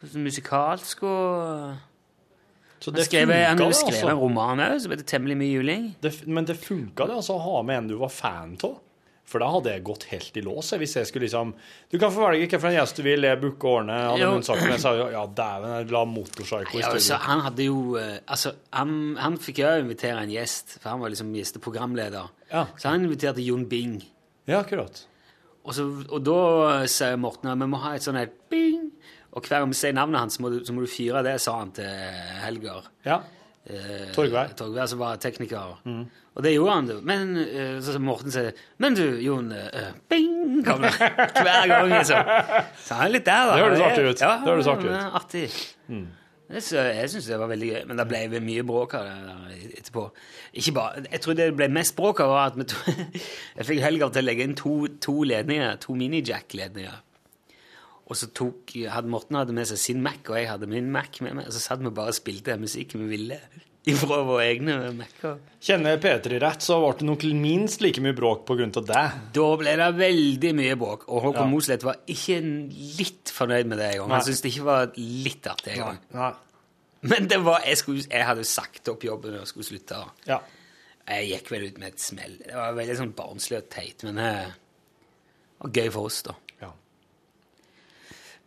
Så Musikalsk og Så Han det skrev, funka, han det, skrev altså. en roman òg som heter 'Temmelig mye juling'. det, men det funka det, altså, å ha med en du var fan av. For da hadde jeg gått helt i lås. jeg, Hvis jeg skulle liksom Du kan få velge hvilken gjest du vil, jeg booker årene Hadde Jo. hun sagt men jeg sa jo, ja, dæven, jeg la motorpsycho i Ja, altså, studio. han hadde jo eh, Altså, han, han fikk jo invitere en gjest, for han var liksom gjesteprogramleder. Ja. Så han inviterte Jon Bing. Ja, akkurat. Og, så, og da eh, sier Morten at vi må ha et sånn et bing, og hver gang vi sier navnet hans, så må du, så må du fyre det, sa han til Helger. Ja. Eh, Torgvær. som var tekniker. Mm. Og det gjorde han, du. Men eh, så som Morten sier Men du, Jon eh, Bing! Kommer hver gang, liksom. Så han er litt der, da. Det høres Han er- artig ut. Ja, Det høres han artig ut. Mm. er Artig. Jeg sy- Jeg syns det var veldig gøy, men det ble vel mye bråk av det der etterpå. Ikke bare, jeg tror det ble mest bråk av at vi to, jeg fikk Helgar til å legge inn to, to ledninger, to mini-jack-ledninger. Og så tok, hadde Morten hadde med seg sin Mac, og jeg hadde min Mac med meg. Og så satt vi bare og spilte den musikken vi ville ifra våre egne Mac-er. Kjenner jeg Peter i rett, så ble det nok minst like mye bråk på grunn av det. Da ble det veldig mye bråk, og Håkon Ja. Mosleth var ikke en- litt fornøyd med det en gang. Nei. Han syntes det ikke var litt artig en gang. Nei. Men det var, jeg, skulle, jeg hadde jo sagt opp jobben og skulle slutte. og Ja. Jeg gikk vel ut med et smell. Det var veldig sånn barnslig og teit, men eh, det var gøy for oss, da. Ja.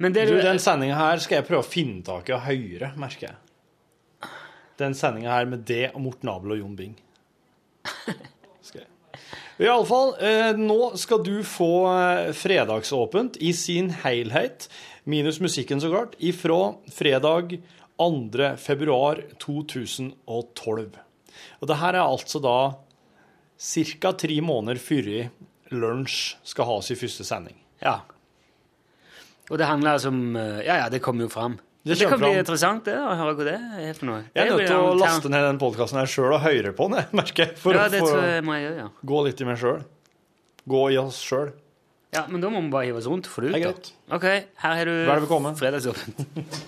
Men det Du, den sendinga her skal jeg prøve å finne tak i og høre, merker jeg. Den sendinga her med det og Morten Abel og Jon Bing. Skal jeg. Iallfall, eh, nå skal du få eh, fredagsåpent i sin helhet, minus musikken så klart, ifra fredag 2. februar 2012. Og det her er altså da ca. tre måneder før lunsj skal ha sin første sending. Ja. Og det handler altså om eh, Ja, ja, det kommer jo fram. Det Det, kan kommer fram. bli interessant det, å høre hva det er for noe. Jeg er Det nødt blir til å en ter- laste ned den podkasten her sjøl og høre på den, jeg merker jeg. For Ja, å det få tror jeg må jeg gjøre, ja. gå litt i meg sjøl. Gå i oss sjøl. ja. Men da må vi bare hive oss rundt og få det ut. Det er da. greit. Ok, her har Vær du velkommen. fredagsåpent.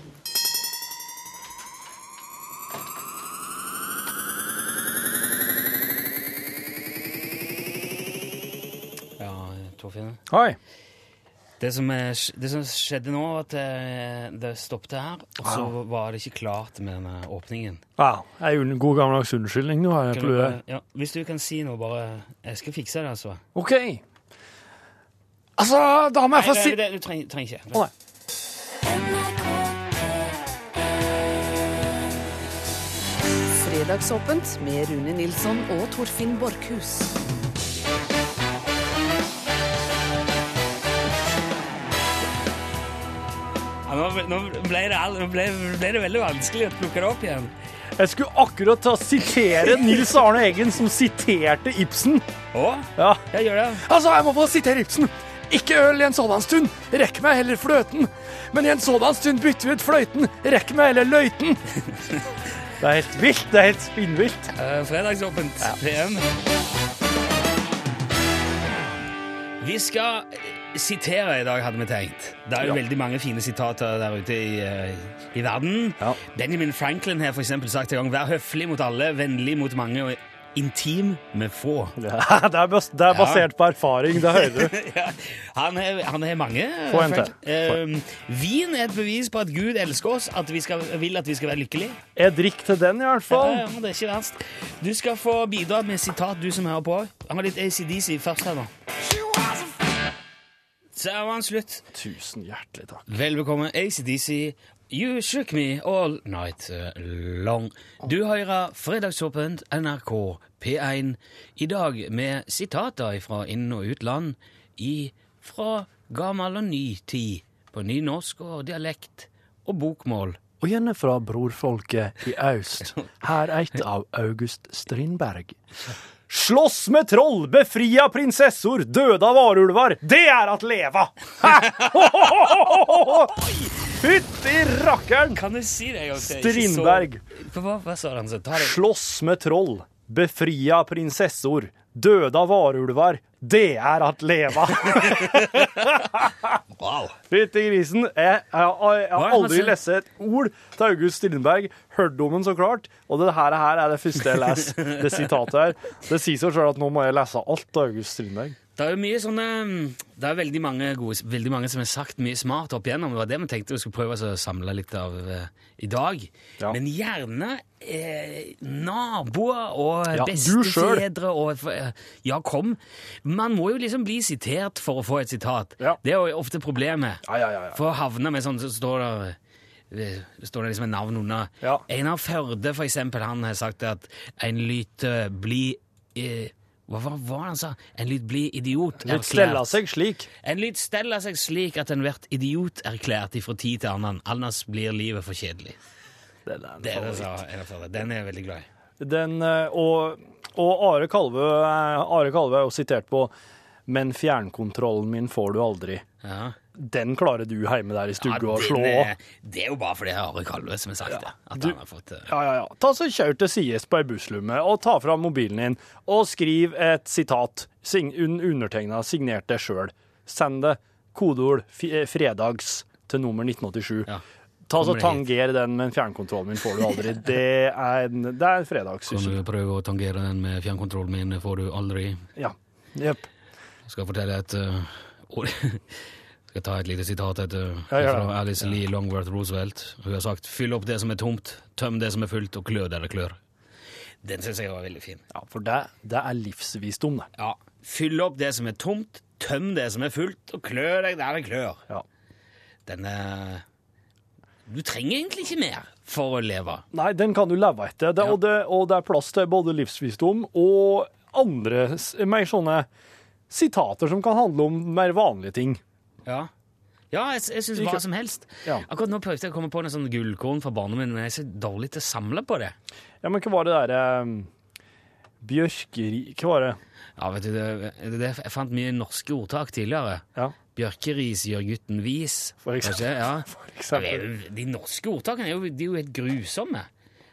Ja, Torfinn. Hei. Det som, er, det som skjedde nå, var at eh, det stoppet her, og så var det ikke klart med denne åpningen. Wow. Jeg er en god gammeldags unnskyldning nå. Kan du bare- Eh, ja, hvis du kan si noe, bare Jeg skal fikse det, altså. OK. Altså, da må jeg Nei, det, det, du trenger, trenger ikke. Å, nei. Fredagsåpent med Rune Nilsson og Torfinn Borkhus. Ja, nå, nå, ble det, all- nå ble, ble det veldig vanskelig å plukke det opp igjen. Jeg skulle akkurat ta sitere Nils Arne Eggen, som siterte Ibsen. Å? Ja. Jeg gjør det. Altså, jeg må få sitere Ibsen. Ikke øl i en sådan stund, rekk meg heller fløten. Men i en sådan stund bytter vi ut fløyten, rekk meg heller løyten. Det er helt vilt. Det er helt spinnvilt. Eh, Fredagsåpent PM. Vi skal eh, sitere i dag, hadde vi tenkt. Det er jo Ja. veldig mange fine sitater der ute i, eh, i verden. Ja. Benjamin Franklin har for eksempel sagt en gang Vær høflig mot alle, vennlig mot mange og intim med få. det, er bas det er basert på erfaring, det hører du. Ja, han har han har mange. eh, Få en til. Franklin. Eh, vin er et bevis på at Gud elsker oss, at vi skal, vil at vi skal være lykkelige. Jeg drikker til den, i hvert fall. Ja, ja, det er ikke verst. Du skal få bidra med sitat, du som hører på. Han har litt ACDC først her nå. Så var han slutt. Tusen hjertelig takk. Vel bekomme, ACDC. You shook me all night eh, long. Du hører Fredagsåpent NRK P1 i dag med sitater fra inn- og utland i fra gammel og ny tid på nynorsk og dialekt og bokmål. Og gjerne fra brorfolket i øst. Her eit av August Strindberg. Slåss med troll, befria prinsessor, døda varulvar. Det er at leva! Fytti rakkeren! Kan du si det en gang til? Ikke så- Strindberg. Hva, hva sa han så? Ta det. Slåss med troll, befria prinsessor, døda varulvar. Det er at leva! Wow. Fytti grisen. Jeg, jeg, jeg, jeg Hva er har det han aldri sier? lest et ord til August Strindberg. Hørt om den, så klart. Og det her, her er det første jeg leser, det sitatet her. Det sier seg sjøl at nå må jeg lese alt av August Strindberg. Det er jo mye sånne mm, Det er veldig mange, gode, veldig mange som har sagt mye smart opp igjennom. Det var det vi tenkte vi skulle prøve oss å samle litt av eh, i dag. Ja. Men gjerne eh, naboer og Ja, du bestefedre og eh, Ja, kom. Man må jo liksom bli sitert for å få et sitat. Ja. Det er jo ofte problemet. Ja, ja, ja, ja. For å havne med sånn, så står det eh, står det liksom et navn under. Ja. Einar Førde, for eksempel, han har sagt at en lyt eh, bli eh, Hva var hva var det han sa? En lyt bli idiot Litt stella seg slik. En lyt stella seg slik at en vert idiot erklært ifra tid til annen, ellers blir livet for kjedelig. Det er det sa Einar Førde. Den er jeg veldig glad i. Den, eh, og, og Are Kalve, eh, Are Kalve er jo sitert på Men fjernkontrollen min får du aldri. Ja. Den klarer du hjemme der i Ja, stua å den slå. er- det er jo bare fordi jeg har Are Kalve som har sagt det. At Du- han har fått eh, Ja, ja, ja. Ta så Kjør til sides på ei busslomme og ta fram mobilen din og skriv et sitat sign un undertegna, signert det sjøl. Send det. Kodeord fi- eh, 'fredags' til nummer 1987. Ja. Ta så Kommer det hit. Tanger den, men fjernkontrollen min får du aldri. Det er, en- det er fredags. Kan du prøve å tangere den med fjernkontrollen min, får du aldri. Ja. Jepp. skal fortelle et eh, ord- Skal ta et lite sitat etter Ja, gjør det. fra Alice Lee Longworth Roosevelt. Hun har sagt 'fyll opp det som er tomt, tøm det som er fullt, og klør der det klør'. Den syns jeg var veldig fin. Ja, for det, det er livsvisdom, det. Ja. Fyll opp det som er tomt, tøm det som er fullt, og klør deg der det klør. Ja. Den er Du trenger egentlig ikke mer for å leve. Nei, den kan du leve etter. Det, og, det, og det er plass til både livsvisdom og andre s- mer sånne sitater som kan handle om mer vanlige ting. Ja. Ja, jeg, jeg syns hva som helst. Ja. Akkurat nå prøvde jeg å komme på noen sånne gullkorn fra barndommen, men jeg er så dårlig til å samle på det. Ja, men hva var det der um, Bjørkeri... Hva var det? Ja, vet du, det, det, det, Jeg fant mye norske ordtak tidligere. Ja, Bjørkeris gjør gutten vis. For eksempel. Kanskje, ja. for eksempel. Det er jo- De norske ordtakene er jo, de er jo helt grusomme.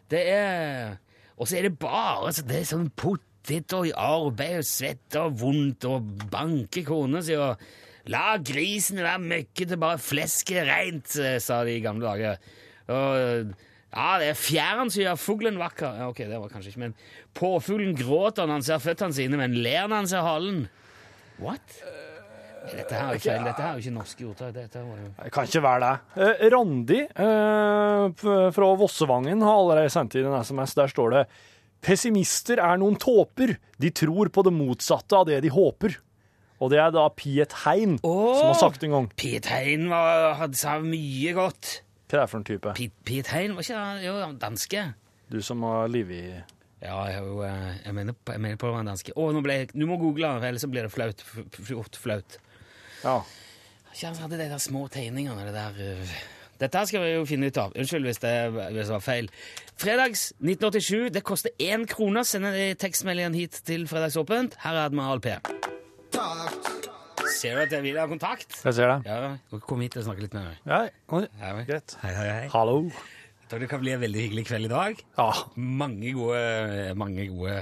Det er Og så er det bare så det er sånn pottit og arbeid og svett og vondt og banke kona si og La grisen være møkkete, bare flesket reint, eh, sa de i gamle dager. Og ja, det er fjæren som gjør fuglen vakker. Ja, ok, det var kanskje ikke, men Påfuglen gråter når han ser føttene sine, men ler når han ser halen. What? Eh, Dette her er jo feil. Dette her er jo ikke norske ordtak. Dette var jo... Det kan ikke være det. Eh, Randi eh, f- fra Vossevangen har allerede sendt inn en SMS. Der står det Pessimister er noen tåper. De tror på det motsatte av det de håper. Og det er da Piet Hein Åh! som har sagt en gang. Piet Hein var, hadde, sa mye godt. Hva er det for en type? Piet, Piet Hein var ikke han- jo, han var danske. Du som har livet i Ja, jeg, har jo, eh, jeg, mener, på- jeg mener på det var han danske. Å, nå ble jeg, du må google han, for ellers så blir det flaut. F- f- Fort flaut. Ja. Ikke han som hadde de der små tegningene, det der... eh. Dette her skal vi jo finne ut av. Unnskyld hvis det, hvis det var feil. Fredags 1987, det koster én krone. Send en tekstmeldingen hit til Fredagsåpent. Her er Admiral P. Ser du at jeg vil ha kontakt? Jeg ser det. Ja, du kan komme hit og snakke litt med meg. Ja, oi, Ja, vel. greit. Hei, hei, hei. Hallo. Jeg tror det kan bli en veldig hyggelig kveld i dag. Ja. Mange gode, mange gode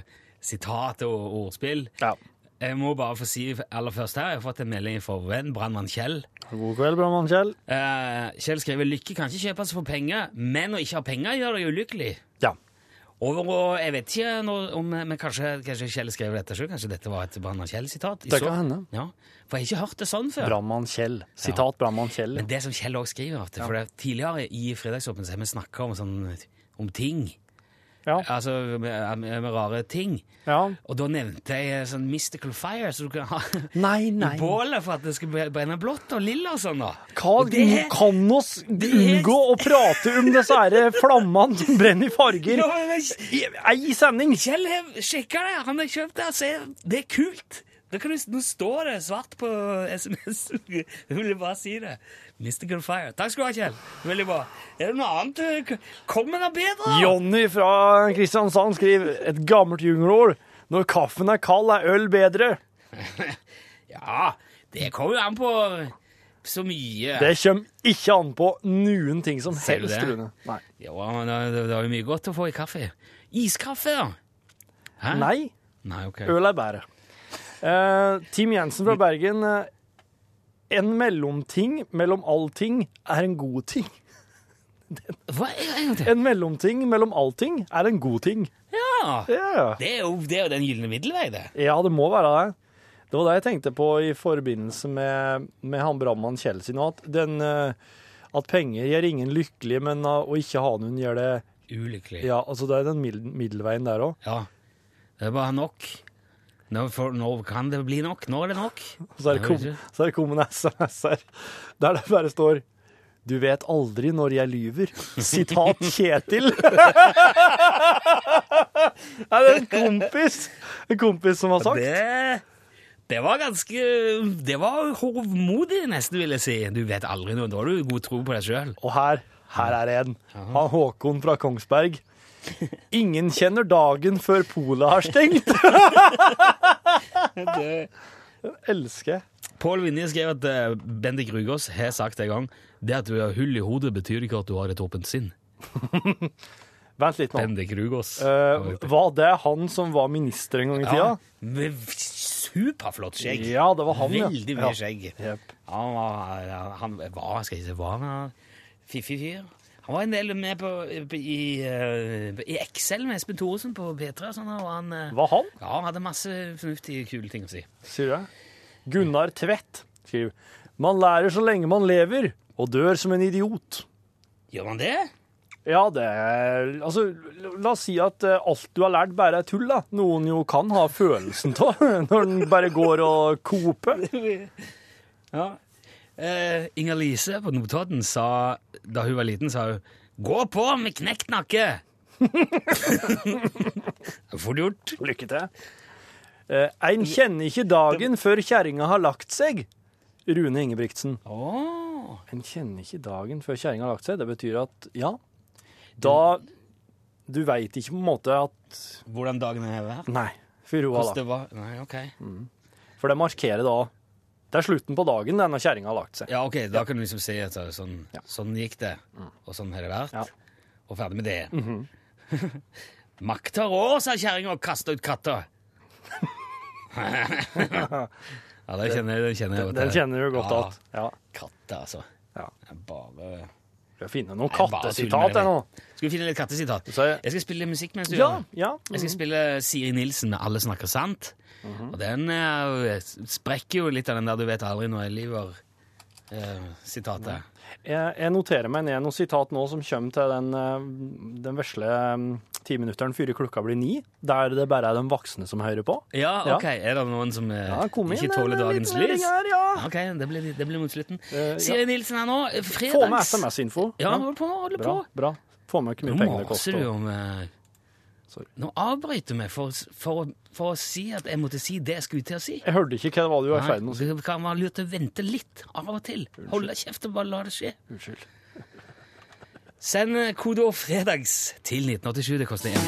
sitat og ordspill. ja. Jeg må bare få si aller først her, jeg har fått en melding fra vår venn, brannmann Kjell. God kveld, brannmann Kjell. Eh, Kjell skriver lykke kan ikke kjøpes for penger, men å ikke ha penger gjør deg ulykkelig. Ja. Og, og jeg vet ikke nå om, men kanskje, kanskje Kjell skrev dette selv, kanskje dette var et Brannmann Kjell-sitat? I Det så- kan hende. Ja, for jeg har ikke hørt det sånn før. Brannmann Kjell. Sitat brannmann Kjell. Men det som Kjell også skriver, at, for det, tidligere i fredagsåpen så har vi snakket om, sånn, om ting, Ja. altså med, med rare ting. ja. Og da nevnte jeg sånn Mystical Fire, så du kan ha Nei, i nei. bålet for at det skal brenne blått og lilla og sånn da. Hva Og det- kan oss unngå å prate om disse her flammene som brenner i farger? Ja, men det- I ei sending! Kjell har sjekka det, han har kjøpt det. Han sier det er kult. Da kan du, nå står det svart på SMS. Jeg ville bare si det. Mystical Fire. Takk skal du ha, Kjell. Veldig bra. Er det noe annet? eh, du- Kom med noe bedre! da. Jonny fra Kristiansand skriver et gammelt jungelord. Når kaffen er kald, er øl bedre. Ja, det kommer jo an på så mye. Det kommer ikke an på noen ting som Ser du helst, det? Rune. Nei. Ja, men det, det, det er jo mye godt å få i kaffe. Iskaffe, da? Hæ? Nei, Nei, ok. øl er bedre. Eh, Tim Jensen fra Bergen. eh, En mellomting mellom allting er en god ting. Hva er en gang til? En mellomting mellom allting er en god ting. Ja! Ja. Det er jo, det er jo den gylne middelvei, det. Ja, det må være det. Det var det jeg tenkte på i forbindelse med, med han brannmann Kjell sin, og at, den, eh, at penger gjør ingen lykkelige, men eh, å ikke ha noen gjør det Ulykkelig. Ja, altså det er den mid- middelveien der òg. Ja, det er bare nok. Nå, for, nå kan det bli nok. Nå er det nok. Og så er det Ja, kom- vet så er det kommet en SMS her der det bare står du vet aldri når jeg lyver. Sitat Kjetil. er det en kompis? En kompis som har sagt? Det, det var ganske Det var hovmodig, nesten, vil jeg si. Du vet aldri noe. Da har du god tro på deg sjøl. Og her, her er en. Han Håkon fra Kongsberg. Ingen kjenner dagen før polet har stengt. Elsker jeg. Pål Vinje skrev at eh, Bendik Rugås har sagt en gang det at du har hull i hodet, betyr ikke at du har et åpent sinn. Vent litt nå. Bendik Rugås. Eh, var det han som var minister en gang i tida? ja, med superflott skjegg. Ja, det var han, ja. Veldig mye Ja. skjegg. Jepp. Han var, han var skal jeg ikke si, var han fiffig fyr? Han var en del med på, i, eh, i Excel med Espen Thoresen på P3. og Sånn, og han, eh, Var han, ja, han hadde masse fornuftige, kule ting å si. sier jeg. Gunnar Tvedt skriver Man lærer så lenge man lever, og dør som en idiot. Gjør man det? Ja, det er- Altså, la oss si at eh, alt du har lært, bare er tull, da. Noen jo kan ha følelsen av når den bare går og koper. Ja. Eh, Inger Lise på Notodden sa da hun var liten, sa hun 'Gå på med knekt nakke'! Fort gjort. Lykke til. Eh, Ein kjenner ikke dagen før kjerringa har lagt seg. Rune Ingebrigtsen. Åh. En kjenner ikke dagen før kjerringa har lagt seg. Det betyr at ja, da Du veit ikke på en måte at Hvordan dagen har vært? Nei. Før hun har Hvordan lagt det var? Nei, ok. For det markerer da Det er slutten på dagen denne kjerringa har lagt seg. Ja, ok, da kan du liksom si at så- sånn, sånn gikk det, og sånn har det vært, Mm. Ja. Mhm. og ferdig med det. Makt har råd, sa kjerringa og kasta ut katta. ja, det kjenner jeg. Den kjenner, jeg godt Den til. kjenner du godt ja, igjen. Ja. Katta, altså. Ja. Det er Bare... Skal finne noen Nei, bare tull med kattesitat det. jeg nå. Skal vi finne litt kattesitat? Så- Jeg skal spille musikk mens du Ja, gjør det. ja. Jeg skal spille Siri Nilsen med 'Alle snakker sant'. Mhm. Og den eh, sprekker jo litt av den der 'du vet aldri når eh, jeg lyver'-sitatet. Jeg, jeg noterer meg ned noen sitat nå som kommer til den, eh, den vesle eh, timinutteren før klokka blir ni, der det bare er de voksne som hører på. ja, ok. Er det noen som eh, Ja, kom inn, ikke det er tåler en dagens liten melding lys? her, ja. Ok, det blir, det blir mot slutten. Eh, Siri Nilsen her nå. eh, Fredags... Få med SMS-info. Ja, hold på, hold bra, på. bra. Få med hvor Nå mye penger det maser koster. du om eh, Sorry. Nå avbryter vi for, for, for å si at jeg måtte si det jeg skulle til å si. Jeg hørte ikke hva det var du var i Nei, ferd med å si. Det kan være lurt å vente litt av og til. Holde kjeft og bare la det skje. Unnskyld. Send kodeord 'fredags' til 1987. Det koster én.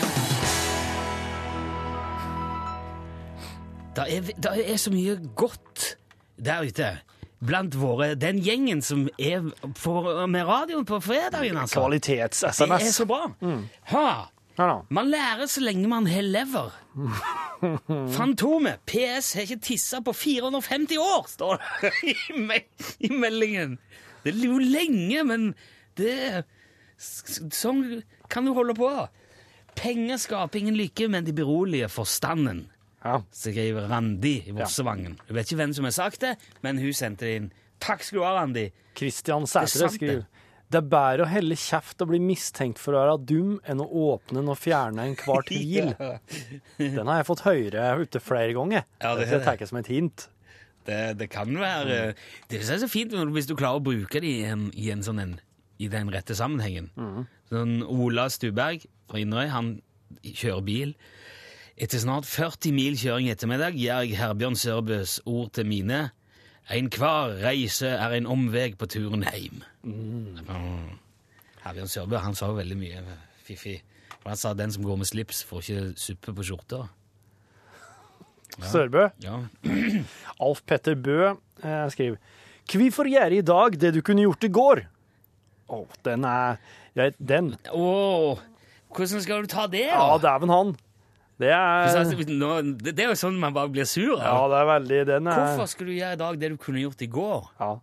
Det er, da er så mye godt der ute blant våre Den gjengen som er for, med radioen på fredagen, altså. Det er Kvalitets-SMS. så bra. Ha! Her da. Man lærer så lenge man har lever. Fantomet. PS har ikke tissa på 450 år, står det i, me i meldingen. Det er jo lenge, men det s- Sånn kan du holde på. Penger skaper ingen lykke, men de beroliger forstanden, skriver Randi i Vossevangen. Jeg vet ikke hvem som har sagt det, men hun sendte det inn. Takk skal du ha, Randi. Kristian Det er Sætre sant, skriver det. det er bedre å helle kjeft og bli mistenkt for å være dum enn å åpne og fjerne en kvart bil. Den har jeg fått høre ute flere ganger. Ja, det er det det. tar jeg som et hint. Det, det kan være Det synes jeg er så fint når du- hvis du klarer å bruke det i, en, i, en sånn en, i den rette sammenhengen. Mm. Sånn, Ola Stuberg fra Inderøy, han kjører bil. Etter snart 40 mil kjøring i ettermiddag gir jeg Herbjørn Sørbøs ord til mine. Enhver reise er en omveg på turen heim. Mm. Herbjørn Sørbø han sa jo veldig mye fiffig. For Han sa den som går med slips, får ikke suppe på skjorta. Ja. Sørbø. Ja. Alf Petter Bø eh, skriver Hvorfor gjøre i dag det du kunne gjort i går? Å, den er jeg- Den. hvordan skal du ta det? altså, Ja, dæven han. Det er Hvis jeg- nå- Det det er jo sånn man bare blir sur Ja, av. det er veldig Den er Hvorfor skulle du gjøre i dag det du kunne gjort i går? Ja.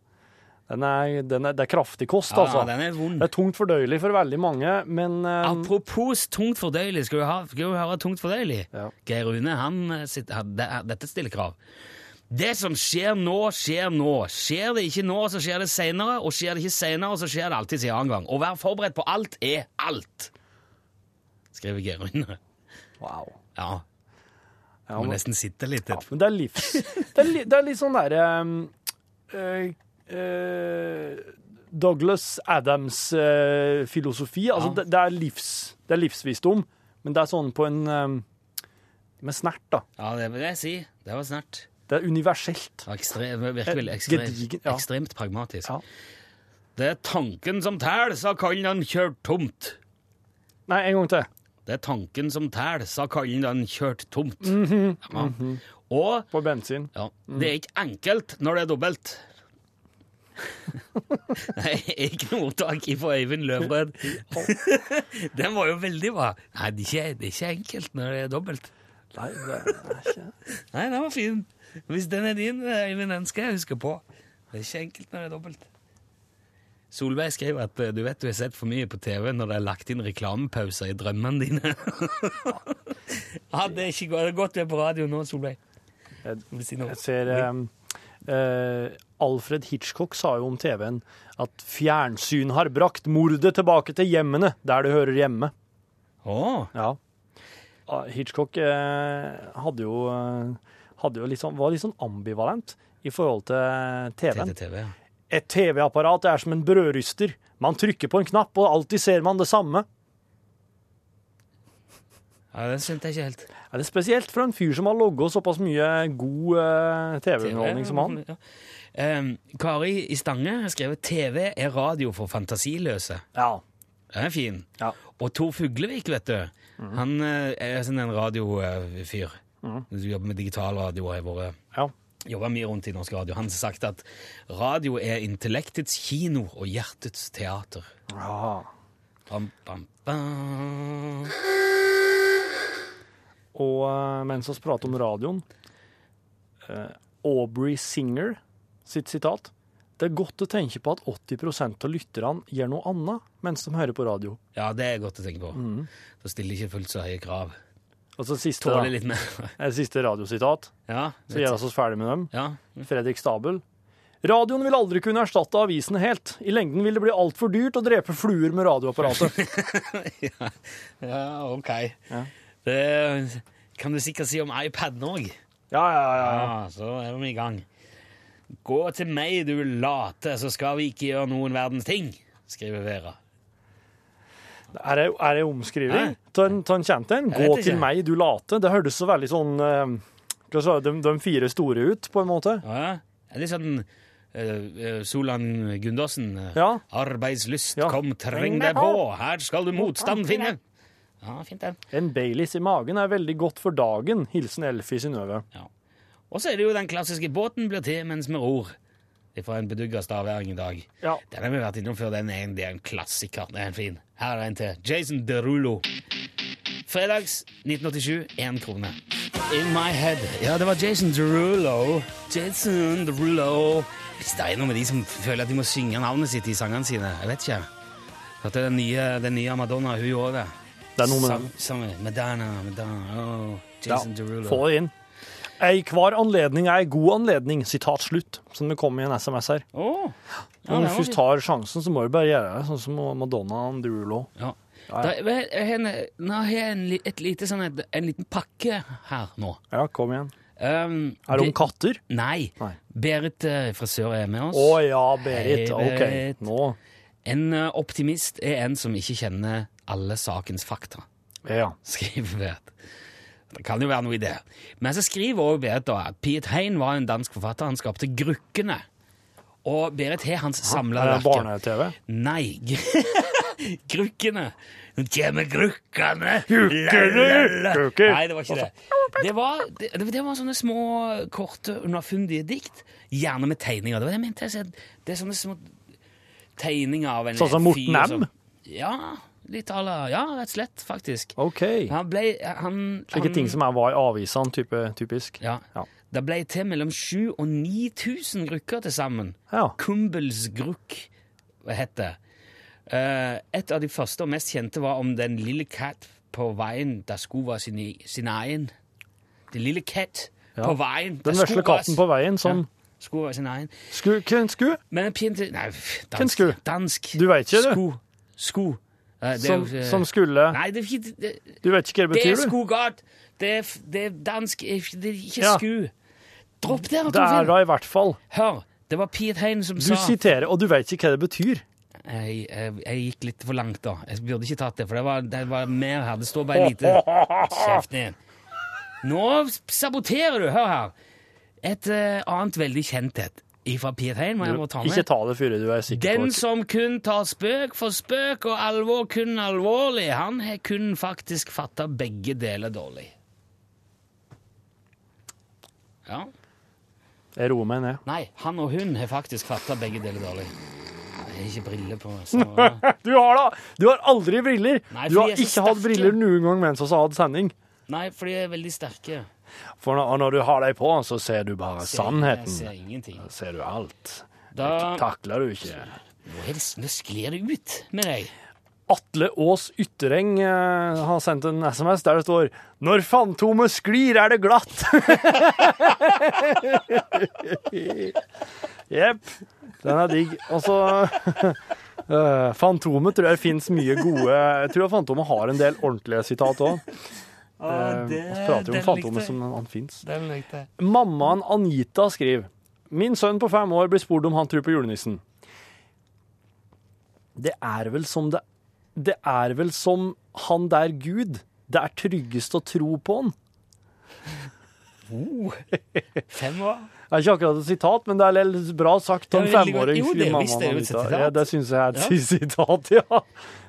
Den er, den er, det er kraftig kost, Ja, altså. den er vond. Det er tungt fordøyelig for veldig mange, men eh, Apropos tungt fordøyelig, skal du, ha, skal du høre tungt fordøyelig? Geir Rune, han eh, sitter, han- det, er- dette stiller krav. Det som skjer nå, skjer nå. Skjer det ikke nå, så skjer det senere, og skjer det ikke senere, så skjer det alltid en annen gang. Å være forberedt på alt er alt, skriver Geir Rune. Wow. Ja. Ja, Må men- nesten sitte litt. eh. etterpå. Men det er livs... Det er, li, det er litt sånn eh, derre eh, Douglas Adams-filosofi. altså, det, det, er livs, det er livsvisdom, men det er sånn på en eh, Med snert, da. Ja, det vil jeg si. Det var snart. Det er universelt. Ekstrem, virker vel Eh, ekstremt, gedigen, ja. ekstremt pragmatisk. Det er tanken som tæl, sa kallen han kjørt tomt. Nei, en gang til. Det er tanken som tæl, sa kallen han kjørt tomt. Mhm, Ja. mhm. Og På bensin. Ja, det er ikke enkelt når det er dobbelt. Nei, ikke noe ordtak fra Øyvind Løvrød. Den var jo veldig bra. Nei, det er, ikke, det er ikke enkelt når det er dobbelt. Nei, det er ikke Nei, den var fin. Hvis den er din, Øyvind, den skal jeg huske på. Det er ikke enkelt når det er dobbelt. Solveig skrev at eh, du vet du har sett for mye på TV når det er lagt inn reklamepauser i drømmene dine. Hadde ikke gått- gått det på radio nå, Solveig. Jeg ser eh, eh, Alfred Hitchcock sa jo om TV-en at 'fjernsyn har brakt mordet tilbake til hjemmene, der det hører hjemme'. Ja. Ah, Hitchcock eh, hadde jo, eh, hadde jo litt sånn- var litt sånn ambivalent i forhold til TV-en. TV, ja. Et TV-apparat er som en brødryster. Man trykker på en knapp, og alltid ser man det samme. Ja, Den skjønte jeg ikke helt. Er det spesielt for en fyr som har logget såpass mye god eh, TV-underholdning som han? Ja. Ehm, Kari i Stange har skrevet TV er radio for fantasiløse. Ja. Den er fin. Og Tor Fuglevik, vet du. Han eh, er sånn en radiofyr. Mhm. Du jobber med digital radio og har vært Jobber mye rundt i norsk radio. Han har sagt at radio er intellektets kino og hjertets teater. Bam, bam, bam. Og eh, mens vi prater om radioen eh, Aubrey Singer sitt sitat. Det er godt å tenke på at 80 av lytterne gjør noe annet mens de hører på radio. Ja, det er godt å tenke på. Mhm. Så stiller ikke fullt så høye krav. Og så Altså, siste, Tåler da. litt mer. Eh, siste radiositat. Ja, så gjør vi oss ferdig med dem. Ja. Fredrik Stabel. Radioen vil aldri kunne erstatte avisen helt. I lengden vil det bli altfor dyrt å drepe fluer med radioapparatet. Ja, ok. Det kan du sikkert si om iPaden òg. Ja, ja, ja. Så er vi i gang. Gå til meg, du late, så skal vi ikke gjøre noen verdens ting, skriver Vera. Er det, er det omskriving? Ta en, ta en kjent en. Jeg vet Gå ikke. til meg, du late. Det hørtes så veldig sånn eh, hva sa jeg, de, de fire store ut, på en måte. Ja, det er litt sånn eh, eh, Solan Gundersen. eh, Ja. Arbeidslyst, kom, treng deg på! Her skal du motstand finne! Ja, fint den. En Baileys i magen er veldig godt for dagen. Hilsen Elfie Synnøve. Og så er det jo den klassiske 'Båten blir til mens vi ror'. Fra en bedugga stavering i dag. Den har vi vært innom før. Den er en, det er en klassiker. Den er en fin. Her er en til. Jason Derulo. Fredags 1987, én krone. In my head. Ja, det var Jason Derulo. Jason Derulo. Hvis Det er noe med de som føler at de må synge navnet sitt i sangene sine. Jeg vet ikke. At det er den nye, den nye Madonna, hun gjorde det. Det er noe med den. Sangen. Madonna, Madonna, oh, Jason Derulo. Få det inn. Ei hver anledning er ei god anledning, sitat slutt, som det kom i en SMS her. Ja, det Når du var først fint. tar sjansen, så må du bare gjøre det, sånn som Madonna og Derulo. Ja. Da, vel, jeg har en- nå har jeg en, li- et lite, sånn, et, en liten pakke her nå. Ja, kom igjen. Um, Er det om katter? Nei. Berit eh, frisør er med oss. Å ja, Berit. OK. Nå. En eh, optimist er en som ikke kjenner alle sakens fakta, Ja. skriver Berit. Det kan jo være noe i det. Men så skriver også Berit da at Piet Hein var en dansk forfatter. Han skapte Grukkene. Og Berit har hans samla Er det verker. barne-TV? Nei. Grukkene. Nå kommer grukkene! Grukkene, La, la, la. grukker. Nei, det var ikke det. Det var, det, det var sånne små, korte, underfundige dikt. Gjerne med tegninger. Det var det jeg mente. jeg sa. Det er sånne små tegninger av en Sånn som Morten fyr som- M? Ja, litt à la Ja, rett og slett, faktisk. OK. Han ble han, Slike han, ting som jeg var i avisene, type, typisk. Ja. Det ble til mellom 7 og 9000 rukker til sammen. Kumbelsgrukk het det. Eh, et av de første og mest kjente var om den lille katt på veien der sko var sin, i- sin egen. Den lille katt Ja. på veien der Den sko vesle var katten s- på veien som Ja, sko var sin egen. Sku, hvem sku? Men en pinte Nei, pff, Hvem dansk. sku? dansk. Du vet ikke, du. Sko. Sko. Eh, det er Som, jo ikke- som skulle Nei, det er ikke det- Du vet ikke hva det det er betyr, du? skogat. Det er, f- det er dansk. Det er ikke Ja. sku. Dropp det, Det er Torfinn. da i hvert fall. Hør, det var Piet Hein som Du sa siterer, og du vet ikke hva det betyr. jeg, jeg, jeg gikk litt for langt, da. Jeg burde ikke tatt det, for det var, det var mer her. Det står bare lite Kjeft ned. Nå saboterer du! Hør her. Et eh, annet veldig kjent et fra Piet Hein må jeg må ta med. Ikke ta det før du er sikker Den på som kun tar spøk for spøk og alvor kun alvorlig, han har kun faktisk fatta begge deler dårlig. Ja. Jeg roer meg ned. Nei, han og hun har faktisk fatta begge deler dårlig. Jeg har ikke briller på. Så. Du har da Du har aldri briller! Nei, du fordi har jeg er så ikke hatt sterke. briller noen gang mens vi har hatt sending. Nei, for de er veldig sterke. For når, når du har dem på, så ser du bare Ser- sannheten. Jeg ser ingenting. Da ser du alt. Da- Det takler du ikke. Nå, er det, nå sklir det ut med deg. Atle Aas Yttereng eh, har sendt en SMS der det står 'Når Fantomet sklir, er det glatt'. Jepp. Den er digg. Og så eh, Fantomet tror jeg fins mye gode Jeg tror Fantomet har en del ordentlige sitat òg. Å, Vi det- Eh, prater jo den om likte Fantomet jeg. som han fins. Den likte jeg. Mammaen Anita skriver Min sønn på fem år blir spurt om han tror på julenissen. Det er vel som det Det er vel som han der Gud. Det er tryggest å tro på han. Oh, fem år. Det er ikke akkurat et sitat, men det er lell bra sagt av en Det er veldig godt. femåring. Jo, det skriver mammaen visste jeg jo et Anita. sitat. Ja, det syns jeg er et Ja. sitat, ja.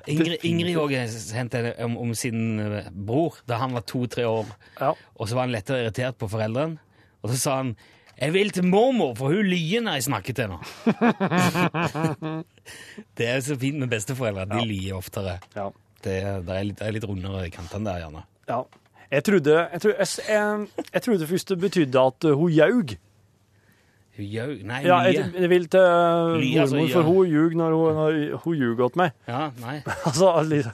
Ingrid, Ingrid også sendte det om, om sin eh, bror da han var to-tre år. Og så var han lettere irritert på foreldrene. Og så sa han 'Jeg vil til mormor, for hun lyver når jeg snakker til henne'. det er så fint med besteforeldre. De lyver oftere. Det, er- det, er litt, det er litt rundere i kantene der, gjerne. ja. Jeg trodde, jeg, trodde, jeg, jeg, jeg trodde først det betydde at eh, hun jaug. Hun gjør Nei, Ja, hun jeg, lyver. jeg vil til eh, Lia, altså, mormor, ja. for hun ljug når hun, når hun ljug åt meg. Ja, nei. Altså, liksom.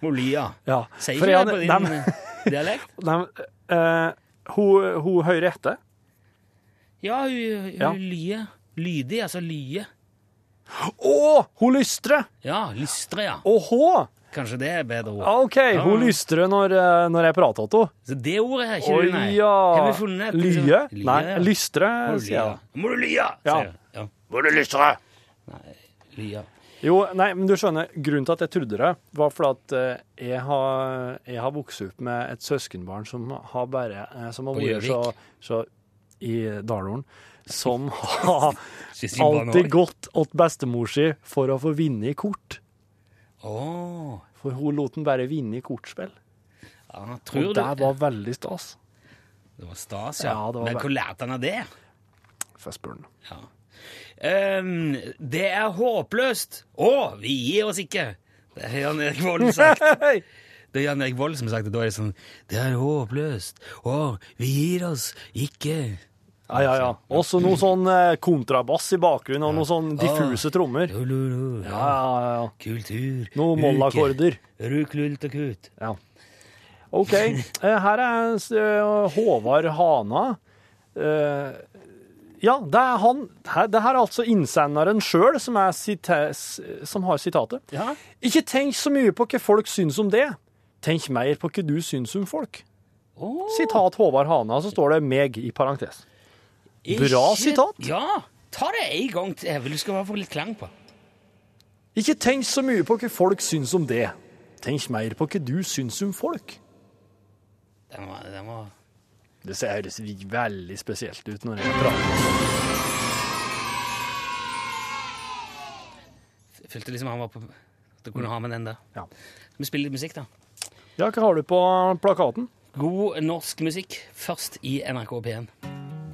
Hun lyver. Ja. Sier For ikke jeg- det på din nei, men- eh, dialekt? Nei, men, eh, hun, hun hører etter. Ja, hun, hun Ja. lyver. Lydig, altså lyve. Å, hun lystrer! Ja, lystre, ja. Åhå! Kanskje det er bedre ord. Ja, OK, hun Ja. lystrer når, eh, når jeg prater til henne. Så det ordet her, ikke Oi, du, nei. Har ja. vi funnet et- liksom- Lye? Lye, Nei, ja. lystre, Må du sier jeg. lye? Må du lye? Ja. sier jeg. Ja. Må du lystre? Lye. Jo, nei, men du skjønner, grunnen til at jeg trodde det, var fordi at eh, jeg har, jeg har vokst opp med et søskenbarn som har bare eh, Som har På vært så, Gjøvik. så I Dalorn. Som har Siste barn alltid år. gått åt bestemor si for å få vinne i kort. Åh. For hun lot den bare vinne i kortspill. Ja, tror du Og det var veldig stas. Det var stas, ja. Ja, det var Men ve- hvor lærte han av det? Får jeg spørre den. Ja. Ehm, det er håpløst. Å, vi gir oss ikke! Det har Jan Erik Volden sagt. Det er Jan Erik Vold som har sagt det. Da er det sånn Det er håpløst. Å, vi gir oss ikke. Ja, ja, ja. Også noe sånn eh, kontrabass i bakgrunnen, og noe sånn Ah. diffuse trommer. Ja, ja, ja. Kultur. Noen mollakkorder. Ruklult og kut. Ja. OK. eh, Her er eh, Håvard Hana. Eh, Ja, det er han. Her- Det her er altså innsenderen sjøl som, er sita- s- som har sitatet. Ikke tenk så mye på hva folk syns om det. Tenk mer på hva du syns om folk. Sitat Håvard Hana, så står det meg i parentes. Bra Ikke- sitat. Ja. Ta det en gang til, Evel. Du skal bare få litt klang på. Ikke tenk så mye på hva folk syns om det. Tenk mer på hva du syns om folk. Den var, den var Det ser- høres veldig spesielt ut når jeg prater. Jeg Følte liksom han var på Da kunne du ha med den der. Skal vi spille litt musikk, da? Ja, hva har du på plakaten? God norsk musikk først i NRK P1.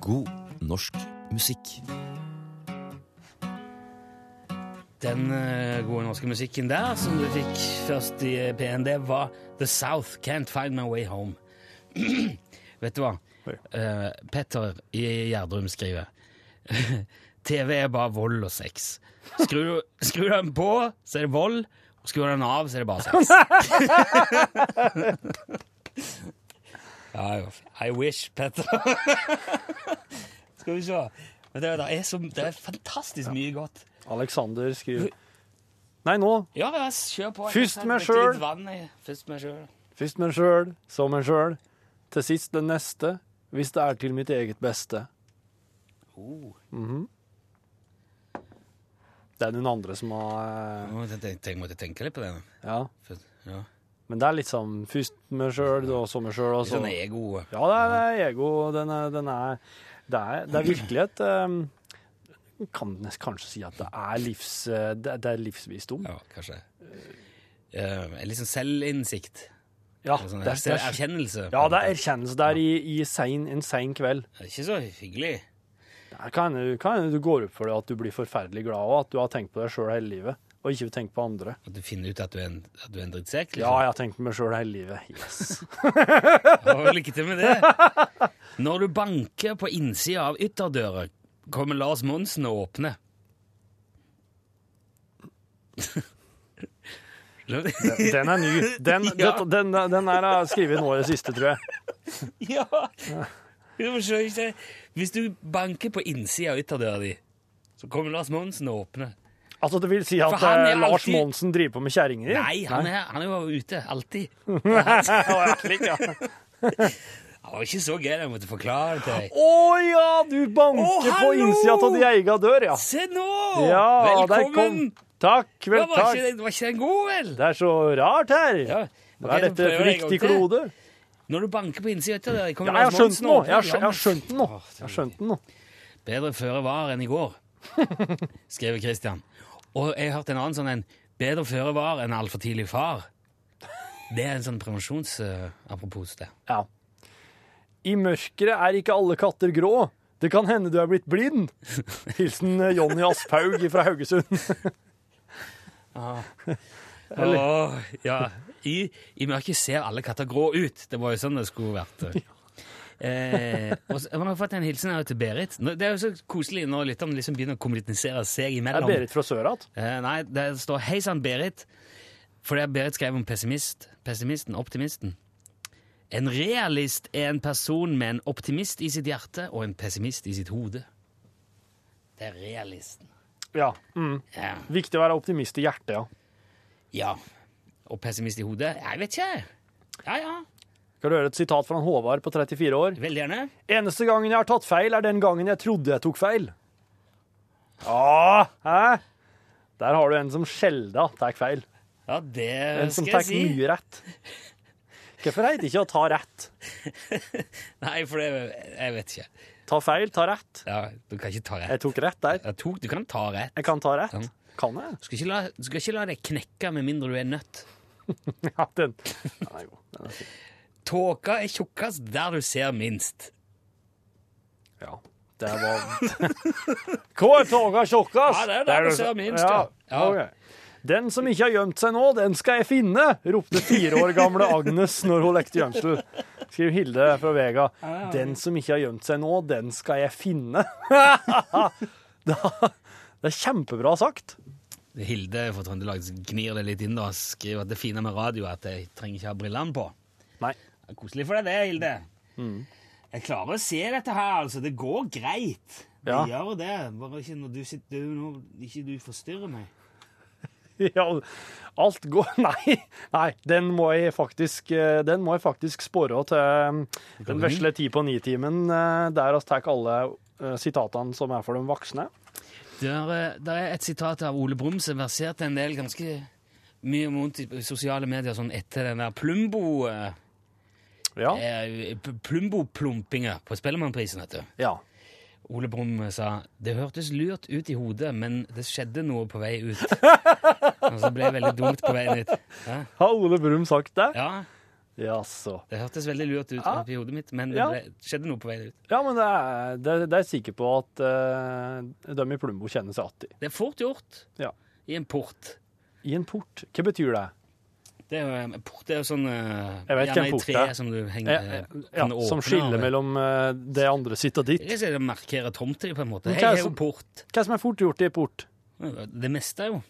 God norsk musikk. Den eh, gode norske musikken der som du fikk først i eh, P1, det var The South Can't Find My Way Home. Vet du hva? Eh, Petter i Gjerdrum skriver TV er bare vold og sex. Skru, skru den på, så er det vold. Og skru den av, så er det bare sex. ja, jo. I wish, Petter. Skal vi se. Men det, er- det, er så, det er fantastisk mye godt. Alexander skriver Nei, nå. Ja, ja, kjør på. Først Jeg meg drikker litt selv. vann, jeg. Først meg sjøl. Først meg sjøl, så meg sjøl. Til sist den neste, hvis det er til mitt eget beste. Oh. Mhm. Det er noen andre som har eh, Nå måtte Jeg tenk- måtte tenke litt på det. nå. Ja. For- Ja. Men det er litt sånn først meg sjøl, og så meg sjøl, og så Litt sånn ego. Ja, det er, det er ego. Den er, den er, det, er, det er virkelig et um, Kan nest- kanskje si at det er, livs, eh, det, det er livsvisdom. Ja, kanskje. Eh, litt sånn selvinnsikt. Ja, Litt sånn det er- det er- erkjennelse. Ja, det er erkjennelse der i, i sein, en sein kveld. Det er ikke så hyggelig. Det kan hende kan hende du går opp for det at du blir forferdelig glad, og at du har tenkt på deg sjøl hele livet, og ikke tenkt på andre. At du finner ut at du er en, at du er en drittsekk. Ja, jeg har tenkt på meg sjøl hele livet. Yes. Og liksom. lykke til med det. Når du banker på innsida av ytterdøra, kommer Lars Monsen og åpner. Den er ny. Den, Ja. dette- den, den her er skrevet nå i det siste, tror jeg. Ja! Du forstår ikke. Hvis du banker på innsida av ytterdøra di, så kommer Lars Monsen og åpner. Altså, det vil si at For han er eh, Lars alltid- Monsen driver på med kjerringer? Nei, han er, han er jo ute. Alltid. Slik, ja. Det var ikke så gøy, jeg måtte forklare det til deg. Å ja, du banker Å, på hallo! innsida av di ega dør, ja. Se nå! Ja, der kom. Velkommen! Takk, Da vel, var takk. ikke, den- var ikke den god, vel? Det er så rart her. Hva Ok, er da dette prøver for jeg en gang riktig til. klode? Når du banker på innsida av ytterdøra di, Ja, kommer jeg har Lars skjønt Monsen den nå. og Jeg har skjø- jeg har åpner. skjønt den nå. Jeg har skjønt den nå. Bedre føre var enn i går, skriver Christian. Og jeg har hørt en annen sånn en. Bedre føre var enn altfor tidlig far. Det er en sånn prevensjons-apropos det. Ja. I mørket er ikke alle katter grå. Det kan hende du er blitt blind. Hilsen eh, Jonny Asphaug fra Haugesund. Ah. Eller- Åh, ja. I, I mørket ser alle katter grå ut. Det var jo sånn det skulle vært. Eh, og så har vi fått en hilsen her til Berit. Nå- Det er jo så koselig når lytterne liksom begynner å kommunisere seg imellom. Er Berit fra Sørat? Eh, nei, det står 'Hei sann, Berit'. For det er Berit skrev om pessimist. pessimisten, optimisten. En realist er en person med en optimist i sitt hjerte og en pessimist i sitt hode. Det er realisten. Ja. Mm. Viktig å være optimist i hjertet, ja. Ja. Og pessimist i hodet? Jeg vet ikke. Ja, ja. Skal du høre et sitat fra Håvard på 34 år? Veldig gjerne. Eneste gangen jeg har tatt feil, er den gangen jeg trodde jeg tok feil. Ja, hæ? Der har du en som sjelda tar feil. Ja, det En som skal tar jeg si. mye rett. Hvorfor heter det ikke å ta rett? Nei, for det Jeg vet ikke. Ta feil, ta rett. Ja, Du kan ikke ta rett. Jeg tok rett der. Jeg tok, du kan ta rett. Sånn. Jeg kan ta rett. Kan jeg? Du skal ikke la, du skal ikke la deg knekke med mindre du er nødt. ja, den, er god. Tåka er tjukkest der du ser minst. Ja. Det var Hva er tåka tjukkest? Ja, det er der du ser minst, ja. ja. Ja. ok. Den som ikke har gjemt seg nå, den skal jeg finne! ropte fire år gamle Agnes når hun lekte gjemsel. Skriver Hilde fra Vega. Den som ikke har gjemt seg nå, den skal jeg finne. da, det er kjempebra sagt. Hilde fra Trøndelag gnir det litt inn og skriver at det fine med radio er at jeg trenger ikke ha brillene på. Nei. Mm. Det er koselig for deg det, Hilde. Jeg klarer å se dette her, altså. Det går greit. Det Ja. gjør det. Bare ikke når du sitter du, når ikke du forstyrrer meg. Ja, alt går Nei, nei den, må jeg faktisk, eh, den må jeg faktisk spore til eh, den vesle ti på ni-timen, eh, der vi tar alle eh, sitatene som er for de voksne. Der, eh, der er et sitat av Ole Brumm som verserte en del ganske mye vondt i sosiale medier sånn etter den der Plumbo... eh, eh, p- Plumbo-plumpinger på Spellemannprisen, vet du. Ja. Ole Brumm eh, sa det hørtes lurt ut i hodet, men det skjedde noe på vei ut. Og så ble det veldig dumt på veien ut. Hæ? Har Ole Brumm sagt det? Ja. Jaså. Det hørtes veldig lurt ut oppi hodet mitt, men det Ja. ble, skjedde noe på veien ut. Ja, men det er, det, det er jeg sikker på at eh, de i Plumbo kjenner seg igjen i. Det er fort gjort Ja. i en port. I en port. Hva betyr det? Det er jo, eh, port er jo sånn eh, Jeg vet ikke gjerne en i port tre er. som du Ja, henger eh, ja, kan åpne som skiller av. mellom eh, det andre sitt og ditt. Jeg ser det markerer tomter på en måte. Men Jeg hva er er jo som- port. Hva som er fort gjort i port? Det meste, jo.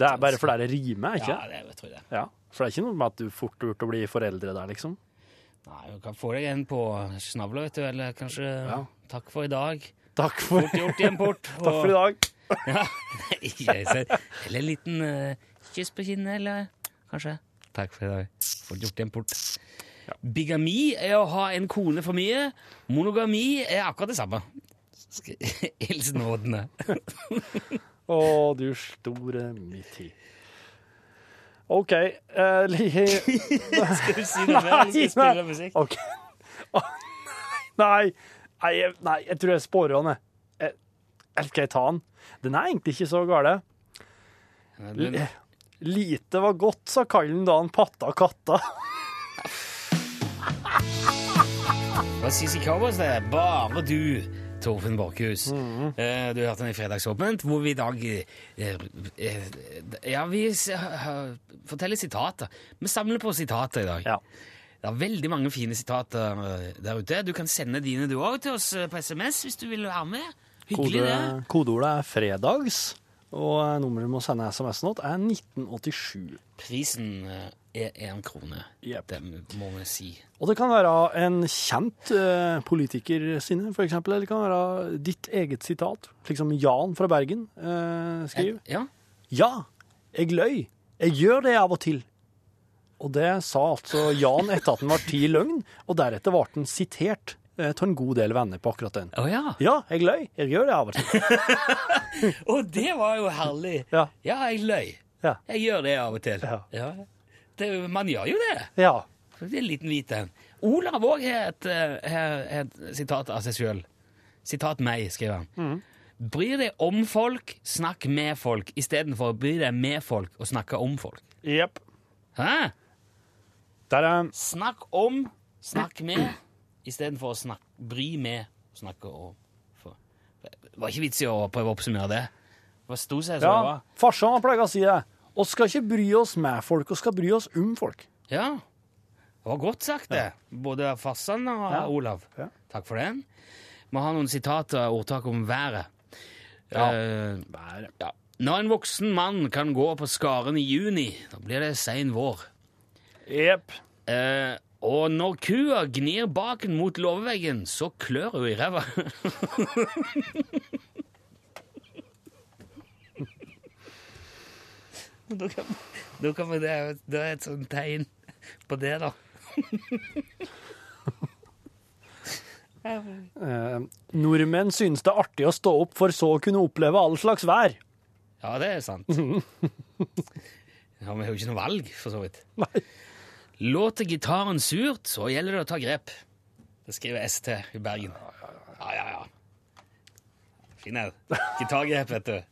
Det er bare fordi det rimer, ikke Altså- Ja, det tror jeg det. Ja, For det er ikke noe med at du fort gjort å bli foreldre der, liksom? Nei, du kan få deg en på snavla, vet du, eller kanskje Takk for i dag. Takk for- Fort gjort i en port. Takk for i dag. ja, jeg ser. Eller en liten eh, kyss på kinnet, eller kanskje. Takk for i dag. Fort gjort i en port. Bigami er å ha en kone for mye. Monogami er akkurat det samme. Sk- Hilsen Ådne. Å, du store mitt tid. OK eh, li- Skal du si noe mer, eller skal jeg Nei, spille musikk? ok. Å, nei. Nei, jeg, nei, jeg tror jeg sporer han, jeg. jeg. Eh, eller Skal jeg ta han? Den er egentlig ikke så gale. den- L- eh, Lite var godt, sa kallen da han patta katta. Hva sier Cowboys det? er Bare du, Torfinn Borkhus. Mm. Eh, Du hørte den i Fredagsåpent, hvor vi i dag eh, eh, Ja, vi s- eh, forteller sitater. Vi samler på sitater i dag. Det er veldig mange fine sitater eh, der ute. Du kan sende dine du òg til oss eh, på SMS hvis du vil være med. Hyggelig, det. Kode- Kodeordet er 'fredags', og nummeret du må sende SMS-en til, er 1987. Prisen eh, er én krone. Det må vi si. Og det kan være en kjent eh, politiker sine, for eksempel, eller det kan være ditt eget sitat, slik som Jan fra Bergen eh, skriver. Ja. Ja, jeg løy. Jeg gjør det av og til. Og det sa altså Jan etter at den var ti i løgn, og deretter ble den sitert eh, til en god del venner på akkurat den. Å ja. Ja, jeg løy. Jeg gjør det av og til. Og det var jo herlig. Ja, jeg løy. Ja. Jeg gjør det av og til. Ja. Det, er jo- man gjør jo det. Ja. Det er en liten hvit en. Olav òg har et, eh, har et sitat av seg sjøl. Sitat meg, skriver han. Bry deg om folk, snakk med folk, istedenfor å bry deg med folk og snakke om folk. Jepp. Hæ? Snakk om, snakk med, istedenfor å snak, bry med, snakke om. For. Det var ikke vits i å prøve å oppsummere det. Det sto seg som det Ja, var. farsan har pleier å si det. Vi skal ikke bry oss med folk, vi skal bry oss om folk. Ja. Det var godt sagt, det. Både Fassan og Ja. Olav. Takk for den. Vi har noen sitater og ordtak om været. Ja. Eh, ja. Når en voksen mann kan gå på skaren i juni, da blir det sein vår. Eh, Jepp. og når kua gnir baken mot låveveggen, så klør hun i ræva. Da kan- da kan man- Det er jo- det er et sånt tegn på det, da. Eh, nordmenn synes det er artig å stå opp for så å kunne oppleve all slags vær. Ja, det er sant. Ja, Vi har jo ikke noe valg, for så vidt. Låter gitaren surt, så gjelder det å ta grep. Det skriver ST i Bergen. Ja, ja, ja. Fin en. Gitargrep, vet du. Vet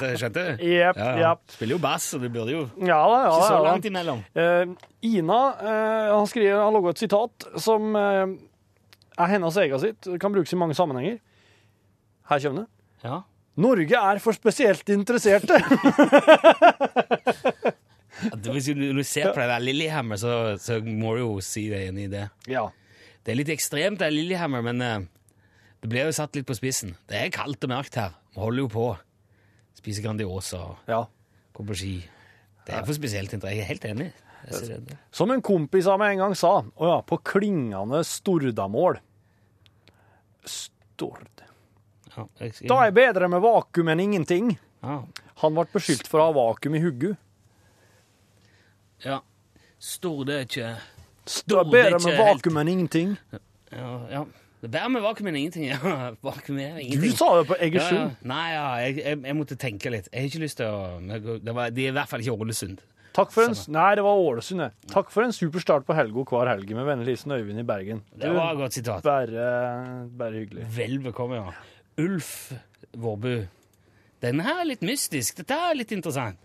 du, Skjønte du? Jep, jep. Spiller jo bass, så du burde jo Ja da, ja Ikke da, så ja da. langt imellom. Eh, Ina eh, han skriver, han laget et sitat som eh, er hennes eget sitt, kan brukes i mange sammenhenger. Her kommer det. Ja. Norge er for spesielt interesserte. At Hvis du, du ser på det der Lillehammer, så, så må du jo si deg enig i det. Ja. Det er litt ekstremt, det er Lillehammer, men eh, det blir jo satt litt på spissen. Det er kaldt og mørkt her. Vi holder jo på. Spiser Grandiosa og går på ski. Det er for spesielt interessant. Jeg er helt enig. Jeg ser det. Som en kompis av meg en gang sa, å ja, på klingende stordamål. Stord. Ja, jeg skal- Da er bedre med vakuum enn ingenting. Han ble beskyldt for å ha vakuum i huggu. Ja. Storde er ikke Det er Storde er bedre ikke med helt vakuum enn ingenting. Ja, ja. Det bærer med vakuum er ingenting. Ja, vakuum er ingenting. Du sa det på Egersund. Ja, ja. Nei, ja, jeg, jeg, jeg måtte tenke litt. Jeg har ikke lyst til å det var, De er i hvert fall ikke Ålesund. Takk for en, nei, det var Ålesund, det. Takk for en super start på helga hver helg med vennlig hilsen Øyvind i Bergen. Det var et godt sitat. Bare, bare hyggelig. Vel bekomme, ja. Ulf Vårbu. Den her er litt mystisk. Dette er litt interessant.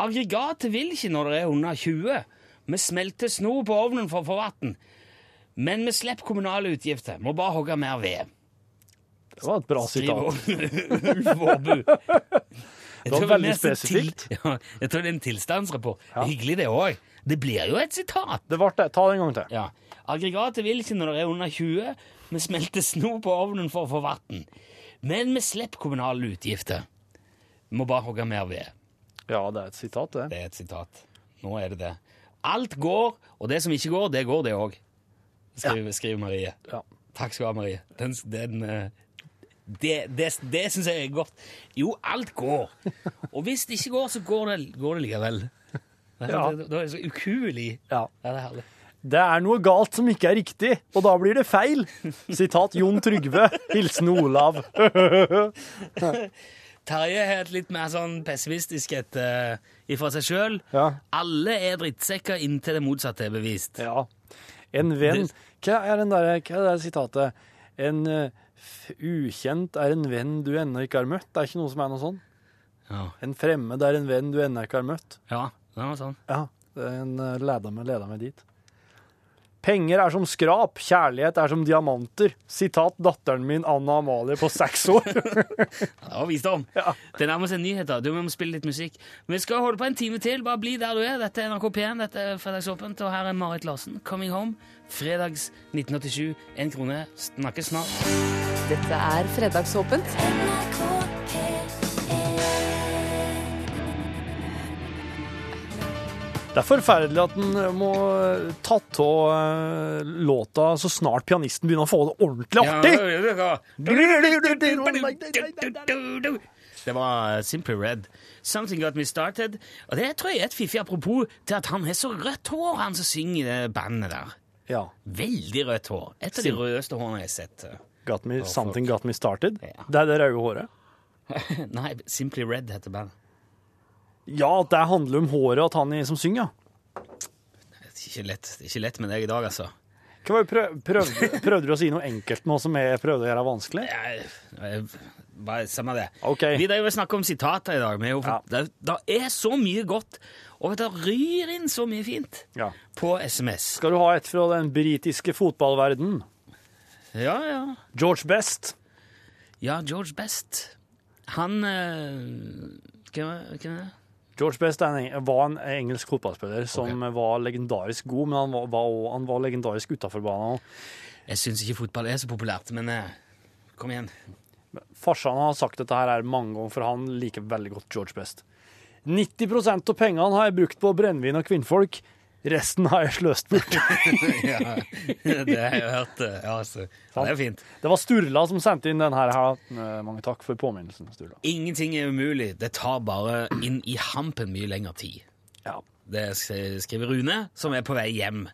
Aggregatet vil ikke når det er under 20. Vi smelter sno på ovnen for å få vann. Men vi slipper kommunale utgifter. Må bare hogge mer ved. Det var et bra Skriver sitat. Ulf Vårbu. Det var veldig spesifikt. Ja, jeg tror det er en tilstandsrapport. Hyggelig det òg. Det blir jo et sitat. Det ble det. Ta det en gang til. Ja. Aggregatet vil ikke når det er under 20. Vi smelter sno på ovnen for å få vann. Men vi slipper kommunale utgifter. Vi må bare hogge mer ved. Ja, det er et sitat, det. Det er et sitat. Nå er det det. Alt går, og det som ikke går, det går, det òg. Skriver Marie. Takk skal du ha, Marie. Den, den, eh, det det, det syns jeg er godt. Jo, alt går. Og hvis det ikke går, så går det, går det likevel. Da Ja. det, det er det så ukuelig. Ja. det er herlig. Det er noe galt som ikke er riktig, og da blir det feil. Sitat Jon Trygve. Hilsen Olav. Terje er et litt mer sånn pessimistisk et eh, ifra seg sjøl. Alle er drittsekker inntil det motsatte er bevist. Ja. En venn Hva er, den der, hva er det der sitatet? En eh, f- ukjent er en venn du ennå ikke har møtt. Det er ikke noe som er noe sånn. Ja. En fremmed er en venn du ennå ikke har møtt. Ja, det var sånn. Ja, det er en eh, leder meg, leder meg dit. Penger er som skrap, kjærlighet er som diamanter. Sitat datteren min Anna Amalie på seks år. Det var visdom. Det nærmer seg nyheter. Du vi må spille litt musikk. Vi skal holde på en time til. Bare bli der du er. Dette er NRK P1, dette er Fredagsåpent, og her er Marit Larsen, 'Coming Home'. Fredags 1987. Én krone. Snakkes snart. Dette er Fredagsåpent. Det er forferdelig at en må ta av eh, låta så snart pianisten begynner å få det ordentlig artig. Det var eh, Simply Red. 'Something Got Me Started'. Og det tror jeg er et fiffig apropos til at han har så rødt hår, han som synger i det bandet der. Ja. Veldig rødt hår. Et av de Sim- rødeste hårene jeg har sett. Got me, something got me started. Det er det røde håret. Nei, Simply Red heter bandet. Ja, at det handler om håret og at han er som synger. ja. Det er Ikke lett, det er ikke lett med deg i dag, altså. Hva var det prøv, prøvde, prøvde du å si noe enkelt nå som jeg prøvde å gjøre vanskelig? Eh, Bare Samme det. Ok. Vi driver og snakker om sitater i dag. men jo, det, det er så mye godt, og det ryr inn så mye fint på SMS. Skal du ha et fra den britiske fotballverdenen? Ja, ja. George Best. Ja, George Best. Han eh, Hvem er hvem er det? George Best er en, eng- var en engelsk fotballspiller som var legendarisk god, men han var, var, også- han var legendarisk utafor banen òg. Jeg syns ikke fotball er så populært, men eh, kom igjen. Farsan har sagt dette her er mange ganger, for han liker veldig godt George Best. 90 av pengene har jeg brukt på brennevin og kvinnfolk. Resten har jeg sløst bort. ja, det har jeg hørt. eh, Ja, altså. Ja, det er fint. Det var Sturla som sendte inn den her. her. Eh, Mange takk for påminnelsen, Sturla. Ingenting er umulig. Det tar bare inn i hampen mye lengre tid. Det s- skriver Rune, som er på vei hjem.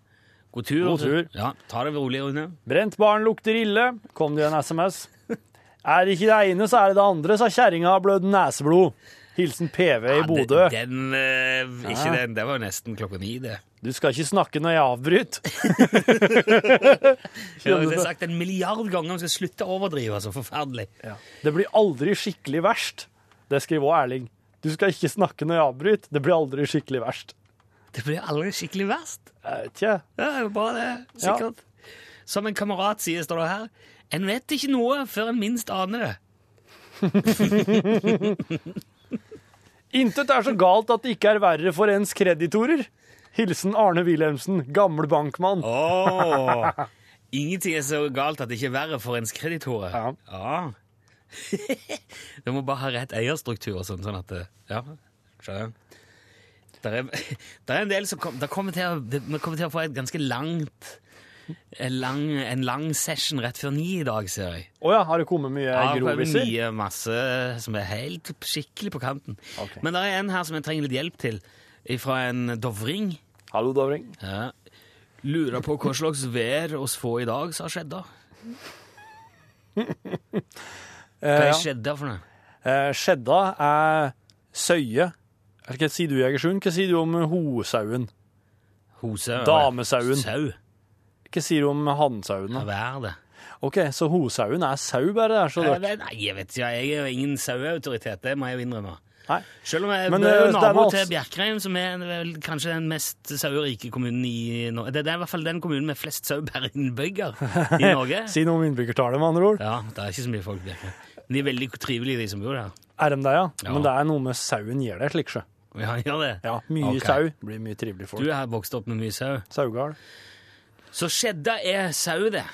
God tur. God tur. Ja, ta det rolig, Rune. Brent barn lukter ille, kom det i en SMS. Er det ikke det ene, så er det det andre, sa kjerringa og blødde neseblod. Hilsen PV i Bodø. Ja, det- Den, eh, ikke Ja. den. Det var jo nesten klokka ni, det. Du skal ikke snakke når jeg avbryter. Det har jeg sagt en milliard ganger om skal slutte å overdrive. Så forferdelig. Det blir aldri skikkelig verst. Det skriver òg Erling. Du skal ikke snakke når jeg avbryter. Det blir aldri skikkelig verst. Det blir aldri skikkelig verst. Jeg vet ikke. Ja, det er jo bra det, sikkert. Som en kamerat sier, står det her, en vet ikke noe før en minst aner det. Intet er så galt at det ikke er verre for ens kreditorer. Hilsen Arne Wilhelmsen, gammel bankmann. Åh, Ingenting er så galt at det ikke er verre for ens kreditorer. Ja. du må bare ha rett eierstruktur og sånn, sånn at det- Ja, skjønner. Der er, der er en del som kom, der kommer til å, det, Vi kommer til å få et ganske langt en lang, en lang session rett før ni i dag, ser jeg. Å ja, har det kommet mye groviser? mye masse som er helt skikkelig på kanten. Men det er en her som jeg trenger litt hjelp til, fra en dovring. Hallo, dovring. Ja. Lurer på hva slags vær oss får i dag, som har skjedd da. Hva Eh, er ja. skjedda for noe? Eh, skjedda er søye. Eller Hva sier du, Jegersund? Hva sier du om hosauen? Hose, Damesauen. Sau. Hva sier du om hannsauen? Vær det. OK, så hosauen er sau, bare. det er så Eh, dørt. Nei, jeg vet ikke. Jeg er jo ingen saueautoritet, det må jeg jo innrømme. Selv om jeg Men, Men, er eh, jo nabo det til er altså- Bjerkreim, som er vel kanskje den mest sauerike kommunen i Norge. Det det er i hvert fall den kommunen med flest sau per innbygger i Norge. Si noe om innbyggertallet, med andre ord. Ja, det er ikke så mye folk i Bjerkreim. De er veldig trivelige, de som bor der. Er de det, ja? Ja. Men det er noe med sauen gjør det, slik sjø. Ja, gjør det. Ja, mye Ok. sau blir mye trivelig folk. Du har vokst opp med mye sau. Saugal. Så skjedda er sau, det.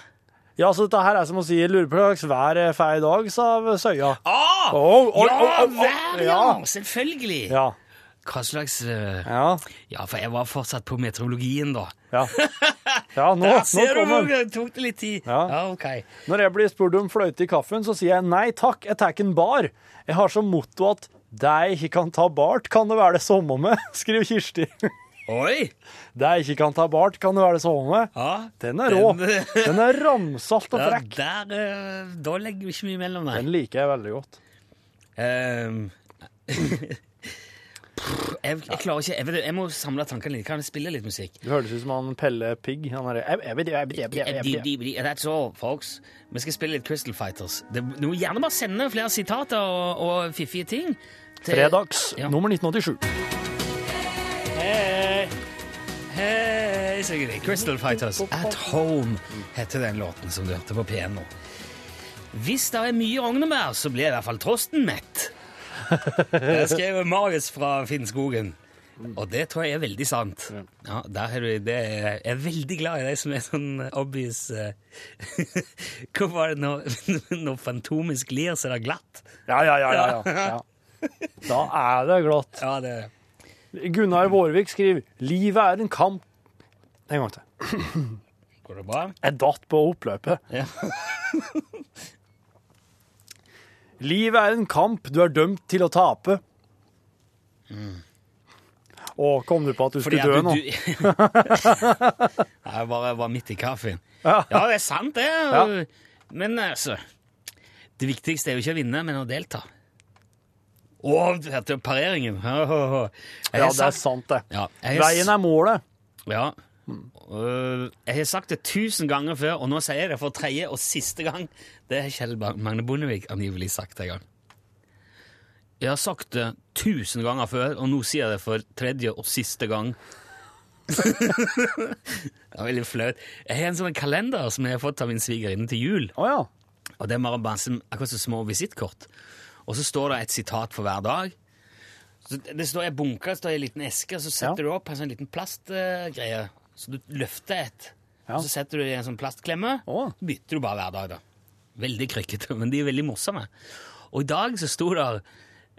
Ja, så dette her er som å si, jeg lurer på hva slags vær jeg får i dag, sa søya. Ah! Oh, oh, ja, oh, oh, oh, vær, ja! Selvfølgelig! Ja. Hva slags eh, ja. for jeg var fortsatt på meteorologien, da. Ja, ja nå, Der nå ser du hvor kommer den. det tok det litt tid. Ja. ok. Når jeg blir spurt om fløyte i kaffen, så sier jeg nei takk, jeg tar en bar. Jeg har som motto at deg ikke kan ta bart, kan det være det samme med, skriver Kirsti. Oi! Deg ikke kan ta bart, kan det være det samme med. den er rå. den- Den er ramsalt og Ja, frekk. der, eh, da legger vi ikke mye mellom, nei. Den liker jeg veldig godt. Ehm, jeg, jeg klarer ikke Jeg, vet det, jeg må samle tankene litt. Kan jeg spille litt musikk? Eh, Det høres ut som han Pelle Pigg. Han er jeg- jeg vet det, jeg vet det, jeg vet det, jeg vet det. That's all, folks. Vi skal spille litt Crystal Fighters. Det, du må gjerne bare sende flere sitater og, og fiffige ting. til- Fredags nummer 1987. Hei, hei, synger de. Crystal Fighters At Home heter den låten som du hørte på P1 nå. Hvis det er mye rognebær, så blir i hvert fall trosten mett. Det skrev Marius fra Finnskogen. Og det tror jeg er veldig sant. Ja, der er du, det er, jeg er veldig glad i de som er sånn obvious eh, Hva var det når, når Fantomet sklir, så er det glatt? Ja, ja, ja, ja, ja. ja. Da er det glatt. Ja, det er det. Gunnar Vårvik skriver Livet er en kamp En gang til. Går det bra? Jeg datt på oppløpet. Ja. Livet er en kamp du er dømt til å tape. Å, kom du på at du Mm. Fordi skulle dø at nå? du- Jeg bare var midt i kaffen. Ja. Ja, det er sant, det. Ja. Men altså Det viktigste er jo ikke å vinne, men å delta. Å, du hørte jo pareringen. Hå, hå, hå. Jeg Ja, har det er sagt- sant, det. Ja, jeg har Veien er målet. ja. Øh, jeg har sagt det tusen ganger før, og nå sier jeg det for tredje og siste gang. Det har Kjell Ba- Magne Bondevik angivelig sagt en gang. Jeg har sagt det tusen ganger før, og nå sier jeg det for tredje og siste gang. det var veldig flaut. Jeg har en sånn kalender som jeg har fått av min svigerinne til jul. Og det er bare masse, akkurat så små visittkort. Og så står det et sitat for hver dag. Så det står en bunke, det står en liten eske, og så setter du opp en sånn liten plastgreie. Så du løfter et, og så setter du det i en sånn plastklemme. Så bytter du bare hver dag, da. Veldig krykkete, men de er veldig morsomme. Og i dag så sto det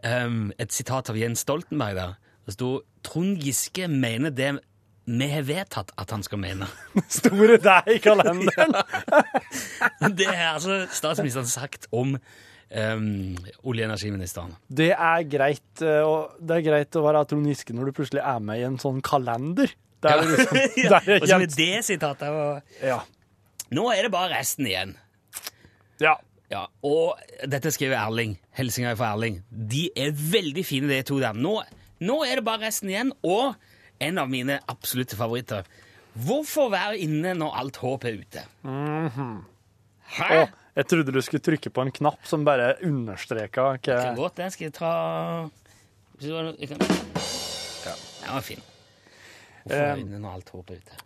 et sitat av Jens Stoltenberg der. Det sto 'Trond Giske mener det vi har vedtatt at han skal mene'. Store deg i kalenderen. Det har altså statsministeren sagt om um, olje- og energiministeren. Det er greit, eh, og det er greit å være Trond Giske når du plutselig er med i en sånn kalender. Der, er liksom, Ja, der er og så med Jens- det sitatet var... Ja. Nå er det bare resten igjen. Ja. og dette skriver Erling. Helsinger fra Erling. De er veldig fine, de to der. Nå, nå er det bare resten igjen, og en av mine absolutte favoritter. Hvorfor være inne når alt håp er ute? Mhm. Hæ? Å, jeg trodde du skulle trykke på en knapp som bare understreka Kan hva godt, det skal jeg ta Hvis det var noe- jeg kan- Den var fin. Hvorfor Eh, være inne når alt håp er ute?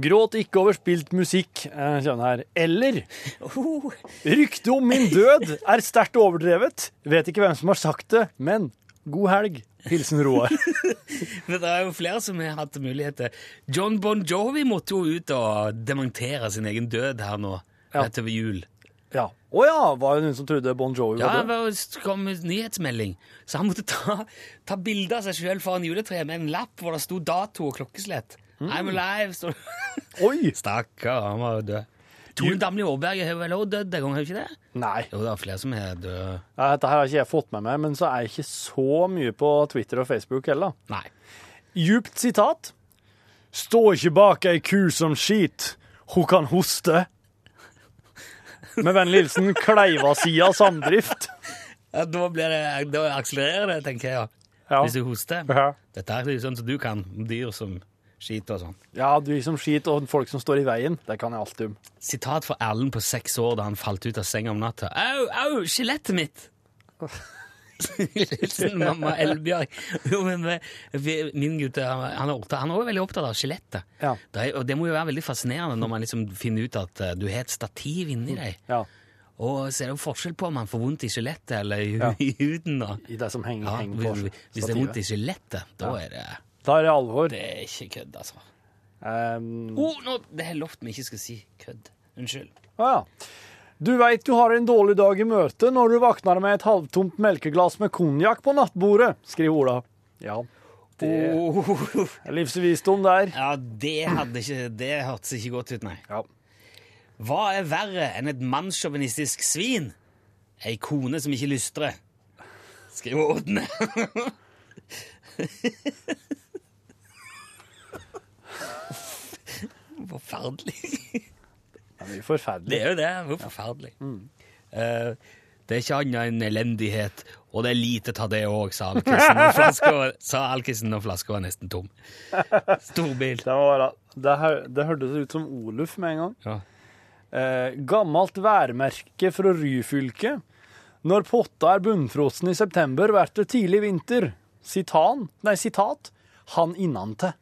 Gråt ikke over spilt musikk, eh, kommer her. Eller Oh. Ryktet om min død er sterkt overdrevet. Vet ikke hvem som har sagt det, men god helg. Hilsen Roar. Men det er jo flere som har hatt muligheter. John Bon Jovi måtte jo ut og dementere sin egen død her nå, rett over jul. Ja. Å ja, var det noen som trodde Bon Jovi Ja, var død? det kom en nyhetsmelding, så han måtte ta, ta bilde av seg sjøl foran juletreet med en lapp hvor det sto dato og klokkeslett. I'm alive, står det. Oi! Mm. Stakkar, han var jo død. Tone Damli Aaberg har vel også dødd en gang, har hun ikke det? Nei. Jo, det er flere som er døde. Ja, dette her har ikke jeg fått med meg, men så er jeg ikke så mye på Twitter og Facebook heller. Nei. Djupt sitat. Stå ikke bak ei ku som skit. Hun kan hoste. Med vennlig hilsen Kleiva-sida samdrift. Ja, da, blir det, da akselererer det, tenker jeg. Ja. Hvis du hoster. Ja. Dette er jo sånn som du kan, om dyr som skiter og sånn. Ja, du som skit og folk som står i veien, det kan jeg alltid. Sitat fra Erlend på seks år da han falt ut av senga om natta. Au, au, skjelettet mitt! Hilsen mamma Elbjørg. Jo, men eh, vi- min gutt han han er opptatt- han er også veldig opptatt av skjelettet. Det, er- og det må jo være veldig fascinerende når man liksom finner ut at eh, du har et stativ inni deg. Og så er det jo forskjell på om man får vondt i skjelettet eller i, Ja. i huden. Da. I det som henger, Ja, henger på hvis, hvis det er vondt i stativet. skjelettet, da Ja. er det Da er det alvor. Det er ikke kødd, altså. Um, Oh, nå, det er lovt vi ikke skal si kødd. Unnskyld. ah, ja. Du veit du har en dårlig dag i møte når du våkner med et halvtomt melkeglass med konjakk på nattbordet, skriver Ola. Ja. Det Oh. er livsvisdom der. Ja, det, hadde ikke, det hørtes ikke godt ut, nei. Hva er verre enn et mannssjåvinistisk svin? Ei kone som ikke lystrer. Skriver Ådne. Forferdelig. Det er jo forferdelig. Det er jo det. Det er jo forferdelig. Eh, det er ikke annet enn elendighet, og det er lite av det òg, sa Alkisen. Og flaska- sa Alkisen, og flaska var nesten tom. Storbil. Det, var, det, hø- det hørtes ut som Oluf med en gang. Eh, gammelt værmerke fra Ryfylke. Når potta er bunnfrossen i september, blir det tidlig vinter. Sitan, nei, sitat. Han innante.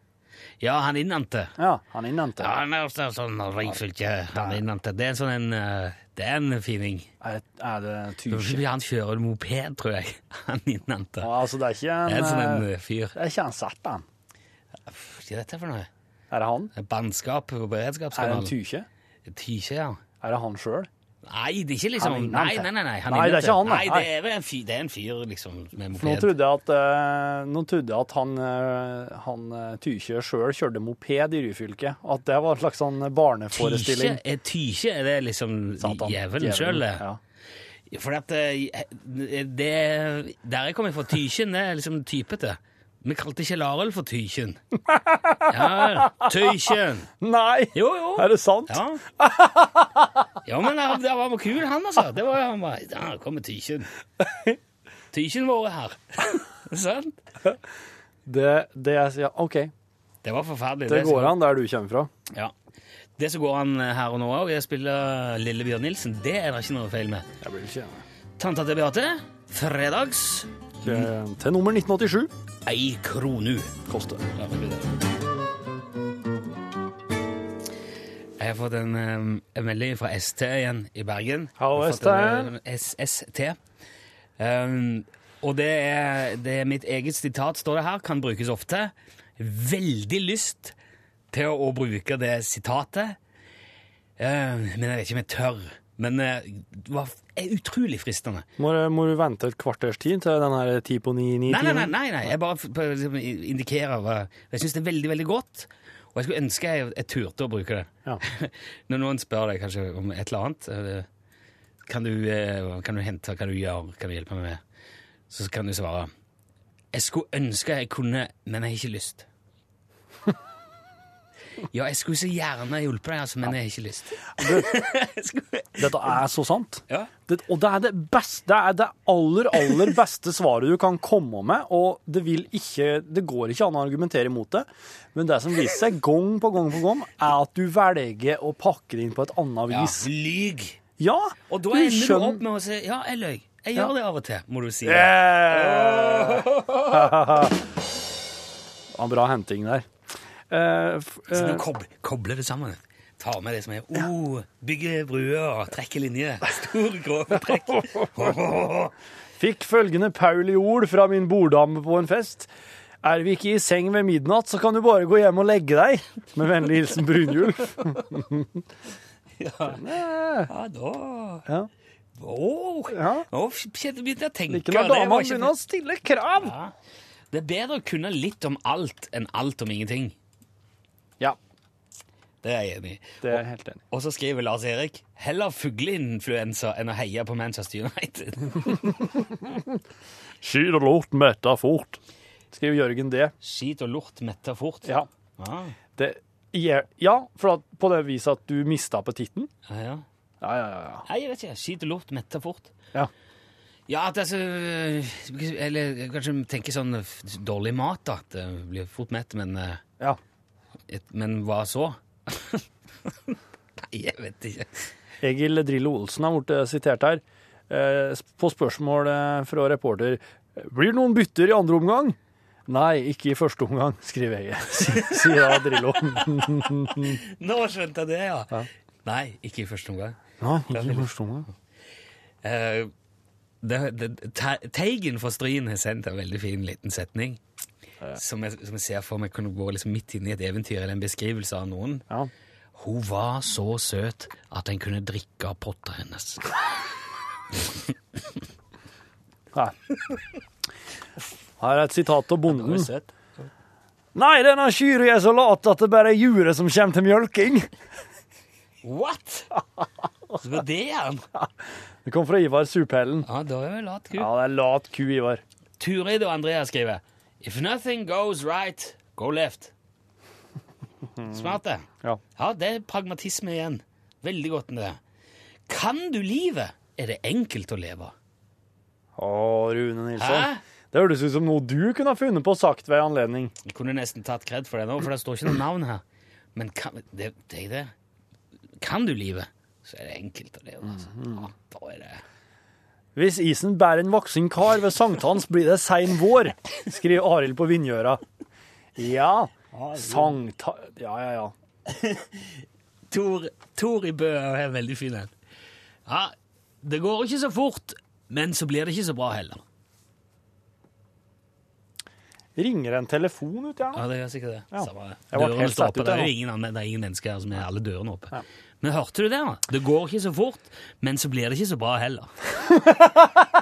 Ja, han innante. Ja, han innante. Ja, han er også sånn Ryfylke. Han innante. Det er en sånn en eh, Det er en fining. Er, er det tyrkje? Han kjører moped, tror jeg. Han innante. Ja, altså, det er ikke en, Det er en sånn en eh, eh, fyr. Det er ikke han Sertan. Hva er dette for noe? Er det han? Bannskap på Er det beredskapskanalen. en tykje? Tykje, ja. Er det han sjøl? Nei, det er ikke Han liksom innante. Nei, nei, nei. nei, han Nei, det innante. er ikke han, Nei, nei. det er vel en fyr, det er en fyr liksom med For nå moped. trodde jeg at, eh, nå trodde jeg at han, eh, han eh, Tykje sjøl kjørte moped i Ryfylke. At det var en slags sånn Tykje, barneforestilling. er tykje, er det liksom Satan. djevelen sjøl, det? Ja. For at eh, det Der jeg kommer fra, Tykjen det er liksom typete. Vi kalte ikke Larel for Tykjen. Ja, Tykjen. Nei! Jo, jo. Er det sant? Ja. Ja, men han, han var kul, han, altså. Det var, han var, ja, her kommer Tykjen. Tykjen vår er her. Sant? Det, det jeg sier, OK. Det var forferdelig. Det som- går an der du kommer fra. Ja. Det som går an eh, her og nå òg, er å spille Lillebjørn Nilsen. Det er det ikke noe feil med. Jeg blir ikke Tanta til Beate, fredags til, eh, til nummer 1987. ei kronu. Koster. Ja, det blir det. Jeg har fått en, em, en melding fra ST igjen i Bergen. Hallo, Jeg har fått en, eh, em, SST. Em, Um, og det er, det er mitt eget sitat, står det her, kan brukes ofte. Veldig lyst til å bruke det sitatet. Eh, men jeg vet ikke om jeg tør. Men eh, det var f- er utrolig fristende. Må, du- må du vente et kvarters tid til den her ti på Nei, nei, nei, ni-ni-tiden? nei, nei. jeg bare f- prøver liksom å indikerer hva Jeg syns det er veldig, veldig godt, og jeg skulle ønske jeg, jeg turte å bruke det. Når noen spør deg kanskje om et eller annet eh, Kan du, eh, kan du hente, kan du gjøre, kan du hjelpe meg med Så kan du svare Jeg skulle ønske jeg kunne, men jeg har ikke lyst. Ja, jeg skulle så gjerne hjulpet deg, altså, men jeg har ikke lyst. Dette er så sant. Ja. Det, og det er det beste, det er det aller, aller beste svaret du kan komme med, og det vil ikke, det går ikke an å argumentere imot det, men det som viser seg gang på gang på gang, er at du velger å pakke det inn på et annet Ja, vis. lyg! Ja, Og da du ender du skjønner- opp med å si ja, jeg løy. Jeg Ja. gjør det av og til, må du si. Yeah! Det var en bra henting der. Eh, f- Så eh, du kobler, kobler det sammen. Tar med det som er oh, Bygger bruer, trekker linjer. Stor, grov trekk. Fikk følgende Pauli ord fra min borddame på en fest. Er vi ikke i seng ved midnatt, så kan du bare gå hjem og legge deg. Med vennlig hilsen Brynjulf. Ja, ja da ja. Åh, Ja. Nå kjente jeg begynte å tenke. Ikke når det var damene ikke- begynner å stille krav. Ja. Det er bedre å kunne litt om alt enn alt om ingenting. Ja. Det er jeg enig i. Det er jeg helt enig. Og så skriver Lars Erik heller fugleinfluensa enn å heie på Manchester United. Skit og lort metta fort. Skriver Jørgen det. Skit og lort metta fort? Ja. Ah. Det, ja, ja, for at, på det viset at du mista appetitten. Ja, ja. Ja, ja, ja, ja. Nei, jeg vet ikke. Skit og lort metta fort. Ja. Ja, at altså Eller kanskje tenke sånn f- dårlig mat, da. At jeg blir fort mett, men eh, Ja. et, Men hva så? Nei, jeg vet ikke. Egil Drillo Olsen har blitt sitert her eh, på spørsmål eh, fra reporter. Blir det noen bytter i andre omgang? Nei, ikke i første omgang, skriver jeg. Sier da Drillo. Nå skjønte jeg det, ja. Nei, ikke i første omgang. Nei, ikke i første omgang. Eh, det, det, Te- Teigen fra Stryn har sendt en veldig fin liten setning. Som, jeg, som jeg ser for meg kunne gå liksom midt inn i et eventyr eller en beskrivelse av noen. Hun var så søt at en kunne drikke av potta hennes. Nei. Her er et sitat av bonden. Det var søt. Nei, denne kyra er så lat at det bare er juret som kommer til mjølking. What?! Så var det han! Det kom fra Ivar Supellen. Ja, da er vi lat ku. Ja, det er lat ku, Ivar. Turid og Andrea skriver If nothing goes right, go left. Smart, det. Ja. Ja, det er pragmatisme igjen. Veldig godt med det. Kan du livet, er det enkelt å leve. Å, Rune Nilsson. Hæ? Det høres ut som noe du kunne ha funnet på og sagt ved anledning. Jeg kunne nesten tatt kred for det nå, for det står ikke noe navn her. Men kan, det, det er det. Kan du livet, så er det enkelt å leve. Altså. Ja, da er det Mhm. Hvis isen bærer en voksen kar ved sankthans, blir det sein vår, skriver Arild på Vindgjøra. Ja, sankta... Ja, ja, ja. Tor, Tor i Bø er en veldig fin en. Ja, det går ikke så fort, men så blir det ikke så bra heller. Ringer en telefon ut her nå? Ja, det gjør sikkert det. Ja. Samme det. Jeg ble Dørene helt står satt åpne. ut, Det er jo jeg nå. ingen, andre- det er ingen mennesker her som har alle dørene åpne. Men hørte du det? da? Det går ikke så fort, men så blir det ikke så bra heller.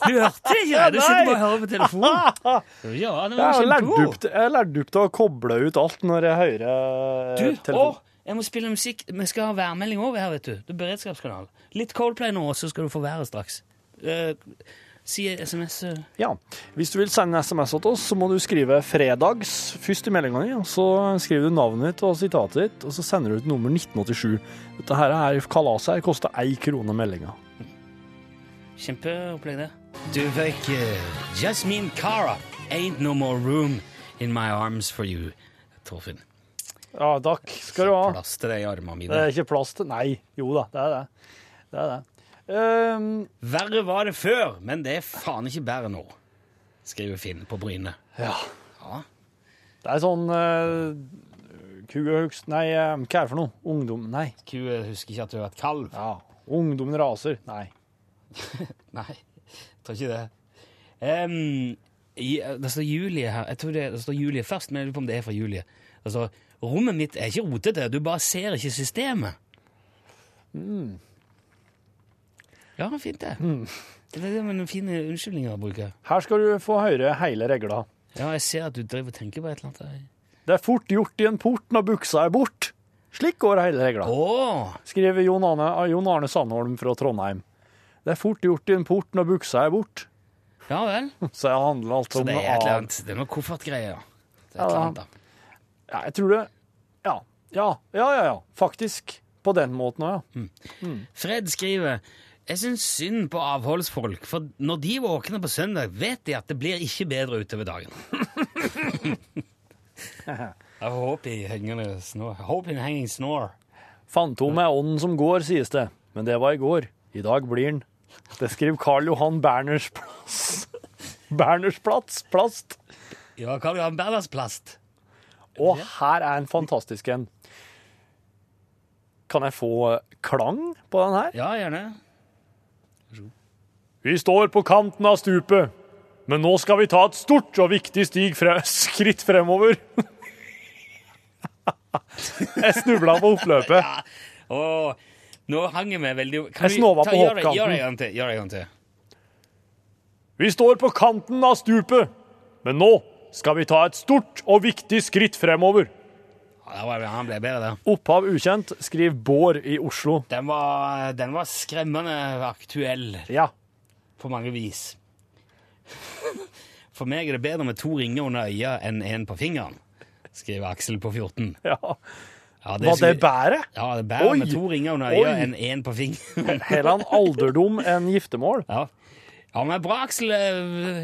Du hørte det ikke? Ja, Du sitter bare og nei. hører på telefonen. Ja, det Jeg var har lært kjempegod. opp til- jeg har lært opp til å koble ut alt når jeg hører Du, eh, telefon. å, jeg må spille musikk. Vi skal ha værmelding over her, vet du. Det er beredskapskanal. Litt Coldplay nå, så skal du få været straks. Eh, si SMS. eh. Ja. Hvis du vil sende en SMS til oss, så må du skrive 'fredags' først i meldinga di. og Så skriver du navnet ditt og sitatet ditt, og så sender du ut nummer 1987. Dette her er kalaset her. Koster ei krone meldinga. Kjempeopplegg, det. Du fikk eh, Jasmine Cara. Ain't no more room in my arms for you, Torfinn. Ja, takk skal du ha. Plass til deg i armene Det er mine. ikke plass til Nei. Jo da, det er det. Det er det. Ehm, Verre var det før, men det er faen ikke bedre nå, skriver Finn på Bryne. ja. Ja. Det er sånn uh, Kugehugst Nei, eh, hva er det for noe? Ungdom Nei. Kua husker ikke at hun har vært kalv. Ja. Ungdommen raser. Nei. Nei, jeg tror ikke det. Ehm, i- det står Julie her. Jeg tror det, det står Julie først, men jeg lurer på om det er fra Julie. Det står, Altså, rommet mitt er ikke rotete, du bare ser ikke systemet. Ja, fint det. Det er det med noen fine unnskyldninger å bruke. Her skal du få høre hele regla. Ja, jeg ser at du driver og tenker på et eller annet. Det er fort gjort i en port når buksa er bort. Slik går hele regla. Åh! Skriver Jon Arne, av Jon Arne Sandholm fra Trondheim. Det er fort gjort i en port når buksa er bort. Ja vel. Så det handler altså Så om det er noe et eller annet. annet. Det er noe koffertgreier. Ja, Det er et eller da. annet da. Ja, jeg tror det Ja. Ja, ja, ja. ja. Faktisk. På den måten òg, ja. Fred skriver Jeg syns synd på avholdsfolk, for når de våkner på søndag, vet de at det blir ikke bedre utover dagen. Jeg håper i hengende snor. Hope in hanging snore. Fantom er ånden som går, sies det. Men det var i går. I dag blir den. Det skriver Karl Johan Berners plass. Berners plats. Plast. Ja, Karl Johan Berners plast. Og her er en fantastisk en. Kan jeg få eh, klang på den her? Ja, gjerne. Vi står på kanten av stupet, men nå skal vi ta et stort og viktig stig fre skritt fremover. jeg snubla på oppløpet. Åh, nå hang jeg meg veldig Kan Jeg du snova ta- på gjør det- hoppkanten. Gjør det en gang til. Gjør det en gang til. Vi står på kanten av stupet, men nå skal vi ta et stort og viktig skritt fremover. Ja, da var- Han ble bedre der. Opphav ukjent, skriv Bård i Oslo. Den var, den var skremmende aktuell. Ja. På mange vis. For meg er det bedre med to ringer under øya enn én på fingeren, skriver Aksel på 14. Ja. Var er det sikkert- bæret? Ja, det bærer med Oi! to ringer under Oi! øya enn én på fingeren. Heller en alderdom enn giftermål. Ja. ja, men bra, Aksel.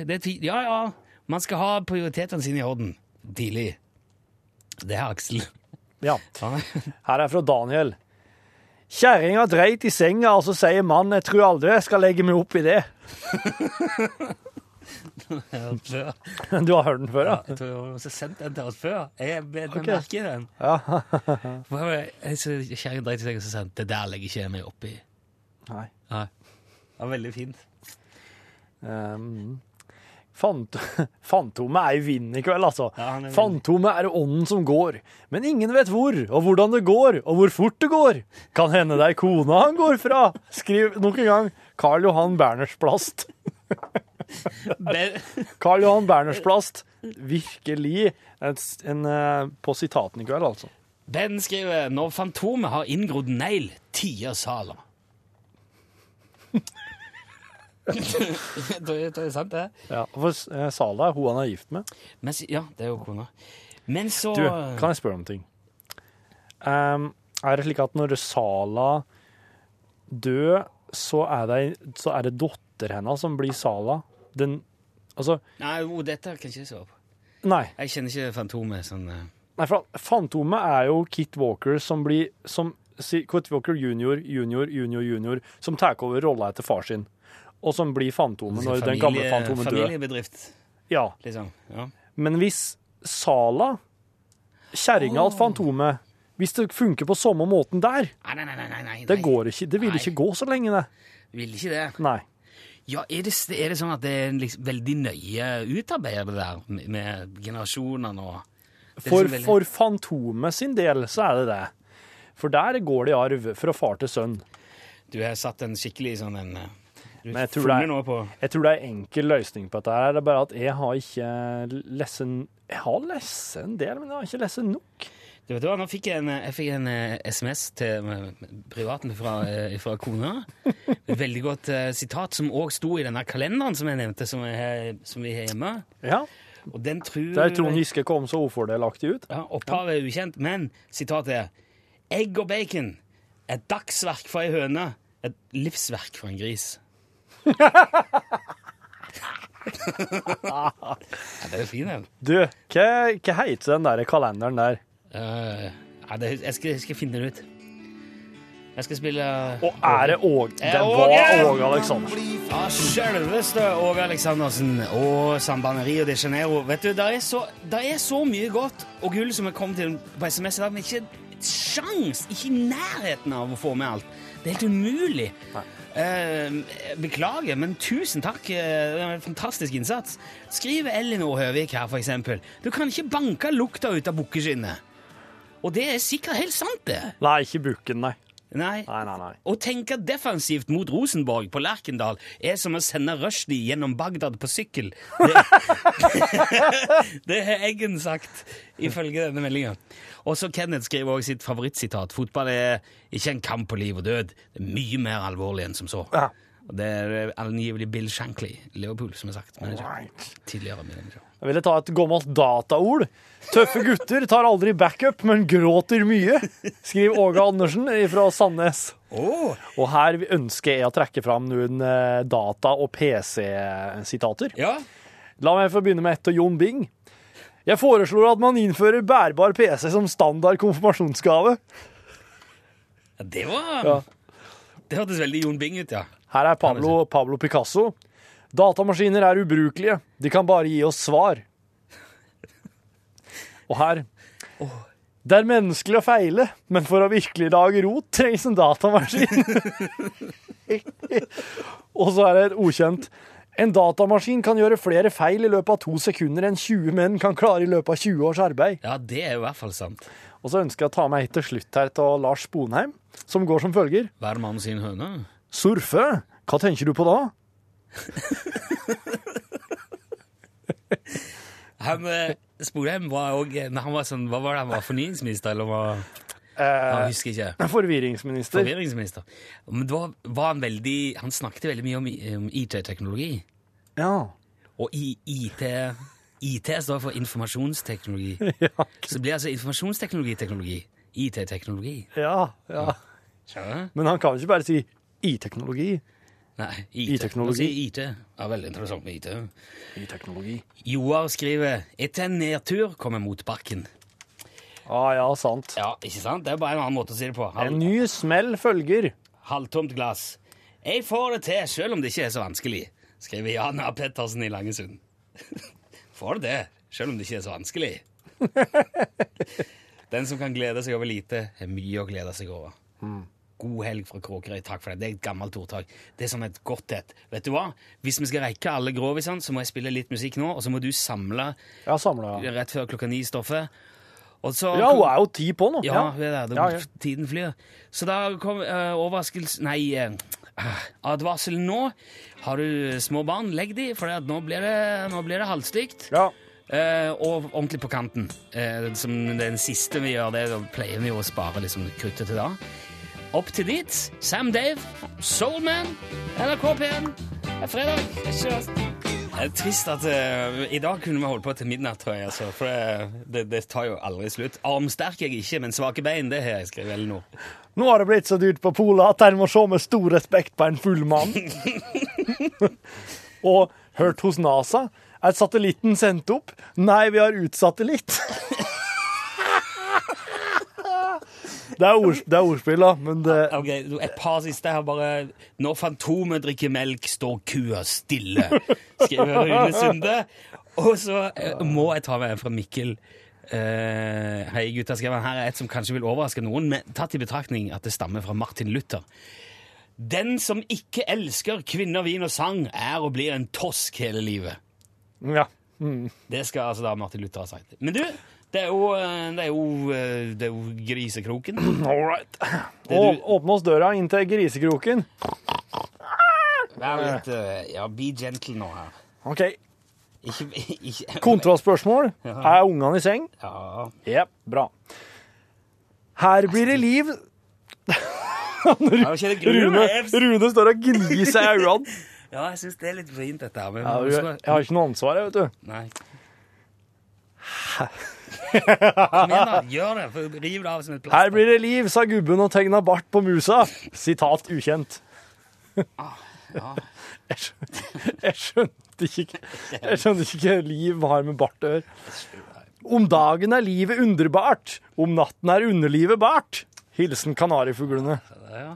Det er ti- ja, ja. Man skal ha prioritetene sine i orden tidlig. Det er Aksel. Ja. Her er fra Daniel. Kjerringa dreit i senga, og så sier mannen 'jeg tror aldri jeg skal legge meg opp i det'. Ja, Du har hørt den før, ja? jeg tror jeg har sendt den til oss før. Jeg bet meg Ok. merke i den. ja. For jeg- jeg så Kjerringa dreit i seg og så sa han, det der legger ikke jeg meg opp i. Nei. Nei. Det var veldig fint. Um, fant, Fantomet er i vinden i kveld, altså. er i Fantomet er ånden som går, men ingen vet hvor, og hvordan det går, og hvor fort det går. Kan hende det er kona han går fra. Skriv nok en gang Karl Johan Berners plast. Ben- Karl Johan Berners plast. Virkelig en, en, eh, på sitaten i kveld, altså. Ben skriver når Fantomet har inngrodd negl, tier Sala. det, det er sant, det. Ja, for eh, Sala er hun han er gift med. Men, s- ja, det er jo kona. Men så Du, kan jeg spørre om en ting? Ehm, er det slik at når Sala dør, så er det, så er det dotter hennes som blir Sala? Den Altså, Nei, jo, dette kan ikke jeg svare på. nei. Jeg kjenner ikke Fantomet sånn eh. nei for Fantomet er jo Kit Walker som blir som, si- Kit Walker junior, junior, junior, junior, som tar over rolla etter far sin. Og som blir Fantomet når den gamle familie- Fantomet dør. Familiebedrift, Ja. liksom. Ja. Men hvis Sala, kjerringa til Fantomet Hvis det funker på samme måten der, Nei, nei, nei, nei, nei, nei. Det går ikke. Det vil ikke gå så lenge, det. Vil ikke det. Nei. Ja, er det, er det sånn at det er en liksom veldig nøye utarbeidet det der med, med generasjonene og Det er For, liksom veldig- for Fantomet sin del så er det det. For der går det i arv fra far til sønn. Du har satt en skikkelig sånn en eh, Du Men jeg tror, det funnet noe på er, jeg tror det er enkel løsning på dette. her. Det er bare at jeg har ikke lest en- Jeg har lest en del, men jeg har ikke lest nok. Du vet hva, nå fikk jeg en, jeg fikk en eh, SMS til eh, privaten fra, eh, fra kona. Et veldig godt eh, sitat som òg sto i denne kalenderen som jeg nevnte, som, jeg, har- som vi har hjemme. Ja. Og den tror Der Trond Giske kom så ufordelaktig ut. Ja, Opphavet er ukjent, men sitatet er Egg og bacon. Et dagsverk for ei høne. Et livsverk for en gris. ja, det er jo fin, den. Du, hva, hva heter den der kalenderen der? Eh, ja, det, jeg, skal, jeg skal finne det ut. Jeg skal spille Og er det Åge? Eh, Det var Åge! Åge Aleksandersen. Ja, Selveste Åge Aleksandersen og Samband Rio de Janeiro. Vet du, der er, så, der er så mye godt og gull som er kommet til på SMS i dag, men ikke et sjans, ikke i nærheten av å få med alt. Det er helt umulig. Eh, beklager, men tusen takk. eh, Det var en fantastisk innsats. Skriver Elinor Høvik her, for eksempel. Du kan ikke banke lukta ut av bukkeskinnet. Og det er sikkert helt sant, det. Nei, ikke Bukken, nei. Nei. Nei, nei, nei. Å tenke defensivt mot Rosenborg på Lerkendal er som å sende Rushdie gjennom Bagdad på sykkel. Det, det har Eggen sagt, ifølge denne meldinga. Også Kenneth skriver også sitt favorittsitat. Fotball er ikke en kamp på liv og død. Det er mye mer alvorlig enn som så. Og det er angivelig Bill Shankly, Liverpool, som har sagt. manager. Tidligere manager. Jeg ville ta et gammelt dataord. Tøffe gutter tar aldri backup, men gråter mye, skriver Åge Andersen fra Sandnes. Og her ønsker jeg å trekke fram noen eh, data- og PC-sitater. La meg få begynne med et av Jon Bing. Jeg foreslår at man innfører bærbar PC som standard konfirmasjonsgave. Ja, det var Ja. Det hørtes veldig Jon Bing ut, ja. Her er Pablo, Pablo Picasso. Datamaskiner er ubrukelige. De kan bare gi oss svar. Og her Det er menneskelig å feile, men for å virkelig lage rot trengs en datamaskin. og så er det et ukjent. En datamaskin kan gjøre flere feil i løpet av to sekunder enn 20 menn kan klare i løpet av 20 års arbeid. Ja, det er i hvert fall sant. Og så ønsker jeg å ta meg til slutt her til Lars Bonheim, som går som følger. Hver mann sin høne. Surfe? Hva tenker du på da? Han eh, Sporheim var òg Han var sånn Hva var det han var? Fornyingsminister, eller hva? Jeg husker ikke. Forvirringsminister. Forvirringsminister. Men da var han veldig Han snakket veldig mye om, i- om IT-teknologi. Ja. Og i IT IT står for informasjonsteknologi. Så det blir altså informasjonsteknologi-teknologi. IT-teknologi. Ja, ja. Skjønner du? Men han kan jo ikke bare si i-teknologi. Nei, I-teknologi. Altså, IT er veldig interessant med IT. I-teknologi. Joar skriver etter en nedtur kommer motbakken. Ah, ja, sant. Ja, ikke sant? Det er bare en annen måte å si det på. En ny smell følger. Halvtomt glass. Jeg får det til, selv om det ikke er så vanskelig, skriver Jan A. Pettersen i Langesund. Får det til, selv om det ikke er så vanskelig. Den som kan glede seg over lite, er mye å glede seg over. God helg fra Kråkerøy. Takk for det. Det er et gammelt ordtak. Det er som et godt et. Vet du hva? Hvis vi skal rekke alle grovisene, så må jeg spille litt musikk nå, og så må du samle Ja, samla. rett før klokka ni stoffet. Og så Ja, hun er jo ti på nå. Ja, hun er der. Det- Ja, ja. Tiden flyr. Så da kom uh, overraskelsen Nei, eh, advarselen nå. Har du små barn, legg de, for det at nå blir det, nå blir det halvstygt. Eh, og ordentlig på kanten. Eh, som den siste vi gjør, det da pleier vi jo å spare liksom, kruttet til da. Opp til dit. Sam Dave, Soulman, NRK P1. Det er fredag. Det er ikke verst. Det er trist at eh, i dag kunne vi holdt på til midnatt, tror jeg. Altså, for det, det, det tar jo aldri slutt. Armsterk er jeg ikke, men svake bein, det har jeg skrevet vel nå. Nå har det blitt så dyrt på Pola at en må se med stor respekt på en full mann. Og hørt hos NASA. Er satellitten sendt opp? Nei, vi har utsatt det litt. Det er, ords- det er ordspill, da, men det Eh, Ok, Et par siste her, bare. Når Fantomet drikker melk, står kua stille, skriver Rune Sunde. Og så eh, må jeg ta med en fra Mikkel. Eh, hei, gutta, skrev han. Her er et som kanskje vil overraske noen, men tatt i betraktning at det stammer fra Martin Luther. Den som ikke elsker kvinner, vin og sang, er og blir en tosk hele livet. Ja. Mm. Det skal altså da Martin Luther ha sagt. Men du, det er jo, eh, det er jo, eh, det er jo grisekroken. All right. Og åpne oss døra inn til grisekroken. Vær litt eh, Ja, be gentle nå her. OK. Ikke, ikke Kontraspørsmål. Ja. Er ungene i seng? Ja. Jepp, bra. Her blir det liv Jeg kjenner gruer Rune, meg. Jeg- Rune står og gnir seg i øynene. Ja, jeg syns det er litt vrient, dette her. Men Ja, du, jeg har ikke noe ansvar, jeg, vet du. Nei. Kom igjen, da. Her Gjør det. for Riv det av som et plaster. blir det liv, sa gubben og tegna bart på musa. Sitat ukjent. Ja. Jeg skjønte, jeg skjønte ikke Jeg skjønte ikke hva liv har med bart å gjøre. Om dagen er livet underbart, om natten er underlivet bart. Hilsen kanarifuglene. Ja.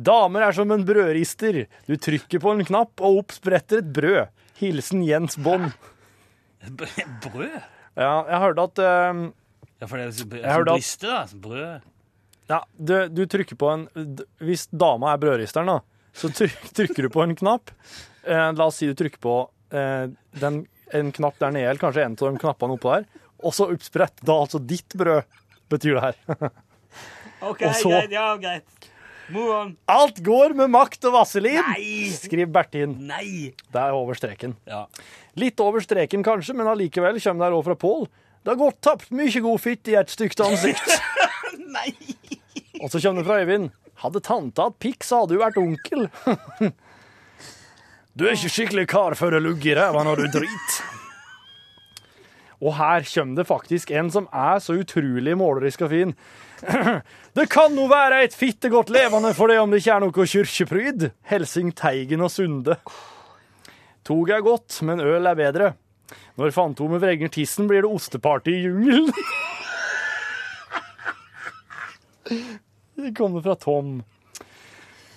Damer er som en brødrister. Du trykker på en knapp, og opp spretter et brød. Hilsen Jens Bond. Brød? Ja, jeg hørte at eh, Ja, for det er så- Jeg hørte som at- brister, da. Som brød. Ja, du, du trykker på en d- Hvis dama er brødristeren, da, så tryk, trykker du på en knapp. Eh, la oss si du trykker på eh, den, en knapp der nede, eller kanskje en av de knappene oppå der, og så oppsprett da altså ditt brød, betyr det her. OK, Og så- greit. Ja, greit. Move on. Alt går med makt og vaselin, skriver Bertin. Nei! Det er over streken. Ja. Litt over streken kanskje, men allikevel kommer det her også fra Pål. Det har gått tapt mye god fitt i et stygt ansikt. Og så kommer det fra Øyvind. Hadde tante hatt pikk, så hadde hun vært onkel. du er ikke skikkelig kar før du lugger i ræva når du drit. Og her kommer det faktisk en som er så utrolig målerisk og fin. det kan nå være et fittegodt levende for det om det ikke er noe kyrkjepryd. Helsing Teigen og Sunde. Toget er godt, men øl er bedre. Når Fantomet vrenger tissen, blir det osteparty i jungelen. Det kommer fra Tom.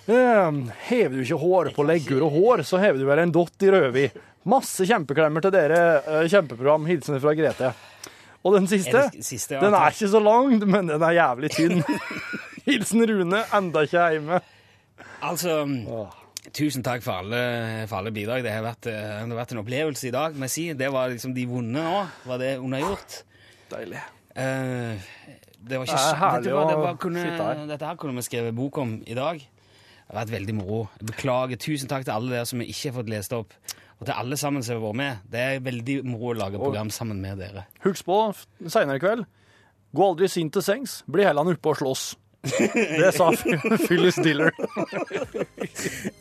Ehm, Hever du ikke hår på leggur og hår, så hever du vel en dott i rødvin. Masse kjempeklemmer til dere. eh, Kjempeprogram. Hilsener fra Grete. Og den siste, Er det siste, ja, den er takk. ikke så lang, men den er jævlig tynn. Hilsen Rune, enda ikke hjemme. Altså, tusen takk for alle, for alle bidrag. Det har, vært, eh, det har vært en opplevelse i dag, må jeg si. Det var liksom de vonde nå, var det undergjort. Eh, Deilig. det var Det ikke er så- vet du herlig hva, det å var- kunne, sitte her. Dette her kunne vi skrevet bok om i dag. Det har vært veldig moro. Jeg Beklager. Tusen takk til alle dere som vi ikke har fått lest opp. Og til alle sammen som har vært med. Det er veldig moro å lage program sammen med dere. Husk på seinere i kveld. Gå aldri sint til sengs. Bli heller oppe og slåss. Det sa Phyllis Diller.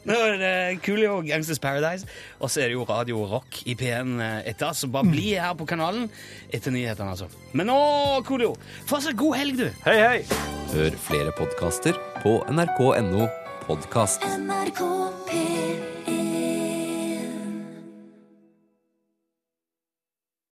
Nå er det Coolio og Gangsters Paradise, og så er det jo Radio Rock i P1 etter. Så bare bli her på kanalen etter nyhetene, altså. Men nå, Coolio, fortsatt god helg, du! Hei, hei! Hør flere podkaster på nrk.no podkast. NRK P1